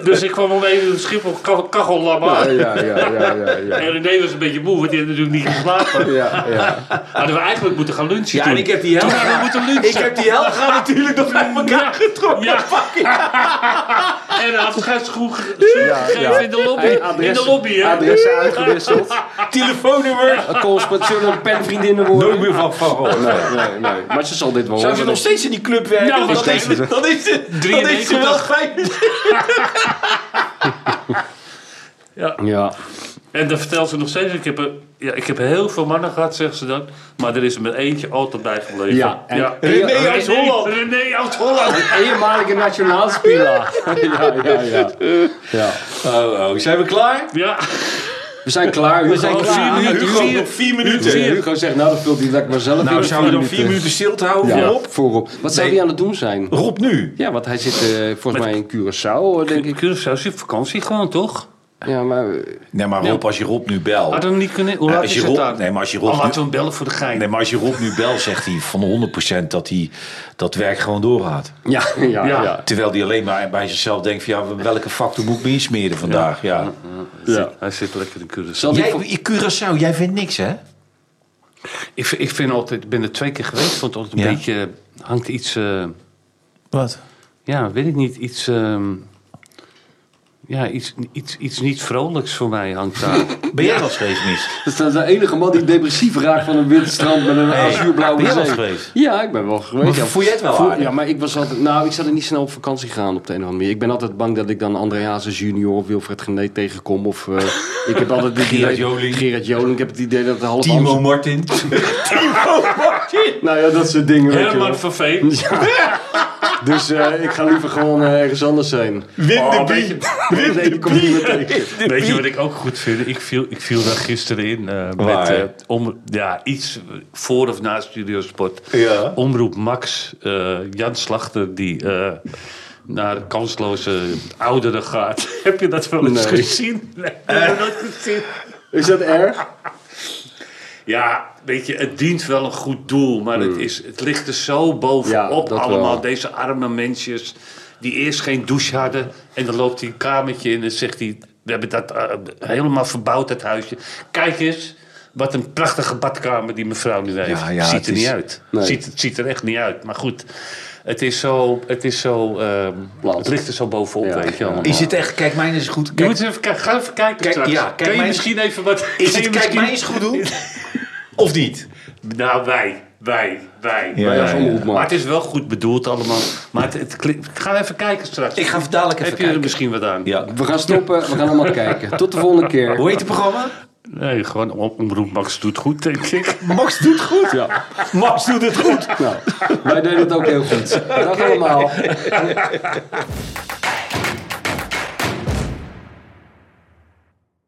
Speaker 5: Dus ik kwam om één uur op Schiphol, kachel, kachel
Speaker 2: Ja,
Speaker 5: lama.
Speaker 2: ja, ja, ja, ja. ja.
Speaker 5: En René was een beetje moe, want die had natuurlijk niet geslapen. Nou,
Speaker 2: Ja, ja.
Speaker 5: Hadden we eigenlijk moeten gaan lunchen
Speaker 3: Ja,
Speaker 5: toen.
Speaker 3: en ik heb die
Speaker 5: Toen
Speaker 3: Helga...
Speaker 5: hadden we moeten lunchen.
Speaker 3: Ik heb die Helga natuurlijk nog uit elkaar getrokken.
Speaker 5: Ja. En een afscheidsgroep gegeven
Speaker 2: ja.
Speaker 5: in de lobby.
Speaker 2: Hey, adres-
Speaker 5: in de lobby, hè.
Speaker 2: Adressen uitgewisseld.
Speaker 3: Telefoonnummer.
Speaker 2: Een colspot, zullen we penvriendinnen worden?
Speaker 3: Nooit meer van van gehoord.
Speaker 2: Nee, nee, nee. Maar ze zal dit wel
Speaker 3: Zou ze
Speaker 2: horen.
Speaker 3: nog steeds in die club werken?
Speaker 5: Nou,
Speaker 3: dan, is, het- dan is het dan is ze wel
Speaker 5: 93.
Speaker 3: fijn.
Speaker 2: Ja.
Speaker 5: En dan vertelt ze nog steeds, ik heb, een- ja, ik heb heel veel mannen gehad, zegt ze dan. Maar er is er met eentje altijd bij gebleven.
Speaker 2: Ja, en-
Speaker 3: René uit Holland.
Speaker 5: René uit Holland.
Speaker 2: Eenmalige nationaal speler. Ja, ja, ja. ja.
Speaker 3: Oh, oh, zijn we klaar?
Speaker 5: Ja,
Speaker 2: We zijn klaar, Hugo.
Speaker 3: zijn klaar.
Speaker 5: vier minuten.
Speaker 3: Hugo,
Speaker 5: Vier-
Speaker 3: nog vier minuten.
Speaker 2: Ja, Hugo zegt, nou dat vult hij lekker maar zelf in.
Speaker 3: Nou, zouden we dan
Speaker 2: Vier
Speaker 3: vier minuten stilte houden
Speaker 2: Ja,
Speaker 3: voorop?
Speaker 2: voorop. Wat zou
Speaker 3: Nee.
Speaker 2: hij aan het doen zijn?
Speaker 3: Rob nu.
Speaker 2: Ja, want hij zit eh, volgens mij in Curaçao, denk ik.
Speaker 5: ik zou ze op vakantie gewoon, toch?
Speaker 2: Ja, maar... eh,
Speaker 3: Nee, maar Rob, als je Rob nu belt...
Speaker 5: Hadden we hem niet kunnen... Hoe
Speaker 3: Ja,
Speaker 5: laat
Speaker 3: als
Speaker 5: is
Speaker 3: je
Speaker 5: het
Speaker 3: Rob-
Speaker 5: daar?
Speaker 3: nee, maar als je Rob
Speaker 5: Oh, laten
Speaker 3: nu-
Speaker 5: we hem bellen voor de gein.
Speaker 3: Nee, maar als je Rob nu belt, zegt hij van 100% dat hij dat werk gewoon doorgaat.
Speaker 2: Ja, ja, ja.
Speaker 5: Ja.
Speaker 2: ja.
Speaker 3: Terwijl hij alleen maar bij zichzelf denkt van ja, welke factor moet ik me insmeren vandaag? Ja.
Speaker 5: Hij zit lekker in Curaçao.
Speaker 2: Zal hij
Speaker 3: Jij,
Speaker 2: voor-
Speaker 3: in Curaçao, jij vindt niks hè?
Speaker 5: Ik, vind- ik vind altijd, ik ben er twee keer geweest, vond het altijd een
Speaker 3: Ja.
Speaker 5: beetje hangt iets, eh,
Speaker 3: Wat?
Speaker 5: ja, weet ik niet, iets, ehm, ja, iets, iets, iets niet vrolijks voor mij hangt daar.
Speaker 3: Ben jij wel eens geweest, mis?
Speaker 2: Dus Dat is dan de enige man die depressief raakt van een wit strand met een azuurblauwe
Speaker 3: ben jij wel
Speaker 2: zee.
Speaker 3: eens geweest?
Speaker 2: Ja, ik ben wel geweest.
Speaker 3: Maar
Speaker 2: Ja,
Speaker 3: voel jij het wel
Speaker 2: voel-
Speaker 3: aardig?
Speaker 2: Ja, maar ik was altijd... Nou, ik zou er niet snel op vakantie gaan op de een of andere manier. Ik ben altijd bang dat ik dan André Hazes junior of Wilfred Gené tegenkom. Of eh, ik heb altijd het idee...
Speaker 3: Gerard Joling.
Speaker 2: Gerard Joling. Ik heb het idee dat de half
Speaker 3: Timo
Speaker 2: Amsterdam-
Speaker 3: Martin. Timo Martin!
Speaker 2: Nou ja, dat soort dingen. weet je wel.
Speaker 5: Herman van Veen.
Speaker 2: Dus eh, ik ga liever gewoon eh, ergens anders zijn.
Speaker 6: Win
Speaker 5: Oh,
Speaker 6: de
Speaker 5: een beetje-
Speaker 6: beat.
Speaker 2: Nee, daar kom ik niet meer tegen.
Speaker 5: Weet je wat ik ook goed vind? Ik viel, ik viel daar gisteren in eh, met
Speaker 3: Waar?
Speaker 5: eh, om, ja, iets voor of na Studio Sport.
Speaker 6: Ja.
Speaker 5: Omroep Max, eh, Jan Slachter, die eh, naar kansloze ouderen gaat. Heb je dat wel eens
Speaker 2: Nee.
Speaker 5: gezien? Nee, dat heb ik nooit gezien.
Speaker 2: Is dat erg?
Speaker 5: Ja, weet je, het dient wel een goed doel, maar het, is, het ligt er zo bovenop
Speaker 2: Hmm. Ja, dat
Speaker 5: allemaal.
Speaker 2: wel.
Speaker 5: Deze arme mensjes die eerst geen douche hadden. En dan loopt hij een kamertje in en zegt hij... We hebben dat eh, helemaal verbouwd, dat huisje. Kijk eens, wat een prachtige badkamer die mevrouw nu heeft.
Speaker 3: Ja, ja,
Speaker 5: ziet
Speaker 3: het
Speaker 5: er
Speaker 3: is-
Speaker 5: niet uit.
Speaker 2: Nee.
Speaker 5: Ziet, het ziet er echt niet uit. Maar goed, het is zo... Het, is zo, ehm,
Speaker 2: Plat.
Speaker 5: het ligt er zo bovenop,
Speaker 2: Ja,
Speaker 5: weet je allemaal.
Speaker 3: Is het echt... Kijk, mijn is goed.
Speaker 5: je
Speaker 3: Kijk,
Speaker 5: moet eens even, ki- ga even kijken straks.
Speaker 3: ja, kijk,
Speaker 5: Kun je
Speaker 3: mijn-
Speaker 5: misschien even wat...
Speaker 3: is het
Speaker 5: kun je
Speaker 3: kijk,
Speaker 5: misschien-
Speaker 3: mijn is goed doen? Of niet?
Speaker 5: Nou, wij. Wij. Wij.
Speaker 3: Ja,
Speaker 5: Wij.
Speaker 3: ja, ja.
Speaker 5: Maar het is wel goed bedoeld allemaal. Maar het, het klinkt- ga even kijken straks.
Speaker 3: Ik ga even dadelijk even
Speaker 5: Heb je er
Speaker 3: kijken.
Speaker 5: misschien wat aan?
Speaker 3: Ja.
Speaker 2: We gaan stoppen, we gaan allemaal kijken. Tot de volgende keer.
Speaker 3: Hoe heet het programma?
Speaker 5: Nee, gewoon om- omroep Max doet goed, denk ik.
Speaker 3: Max doet goed.
Speaker 2: Ja.
Speaker 3: Max doet het goed.
Speaker 2: Nou, wij deden het ook heel goed. Dag allemaal.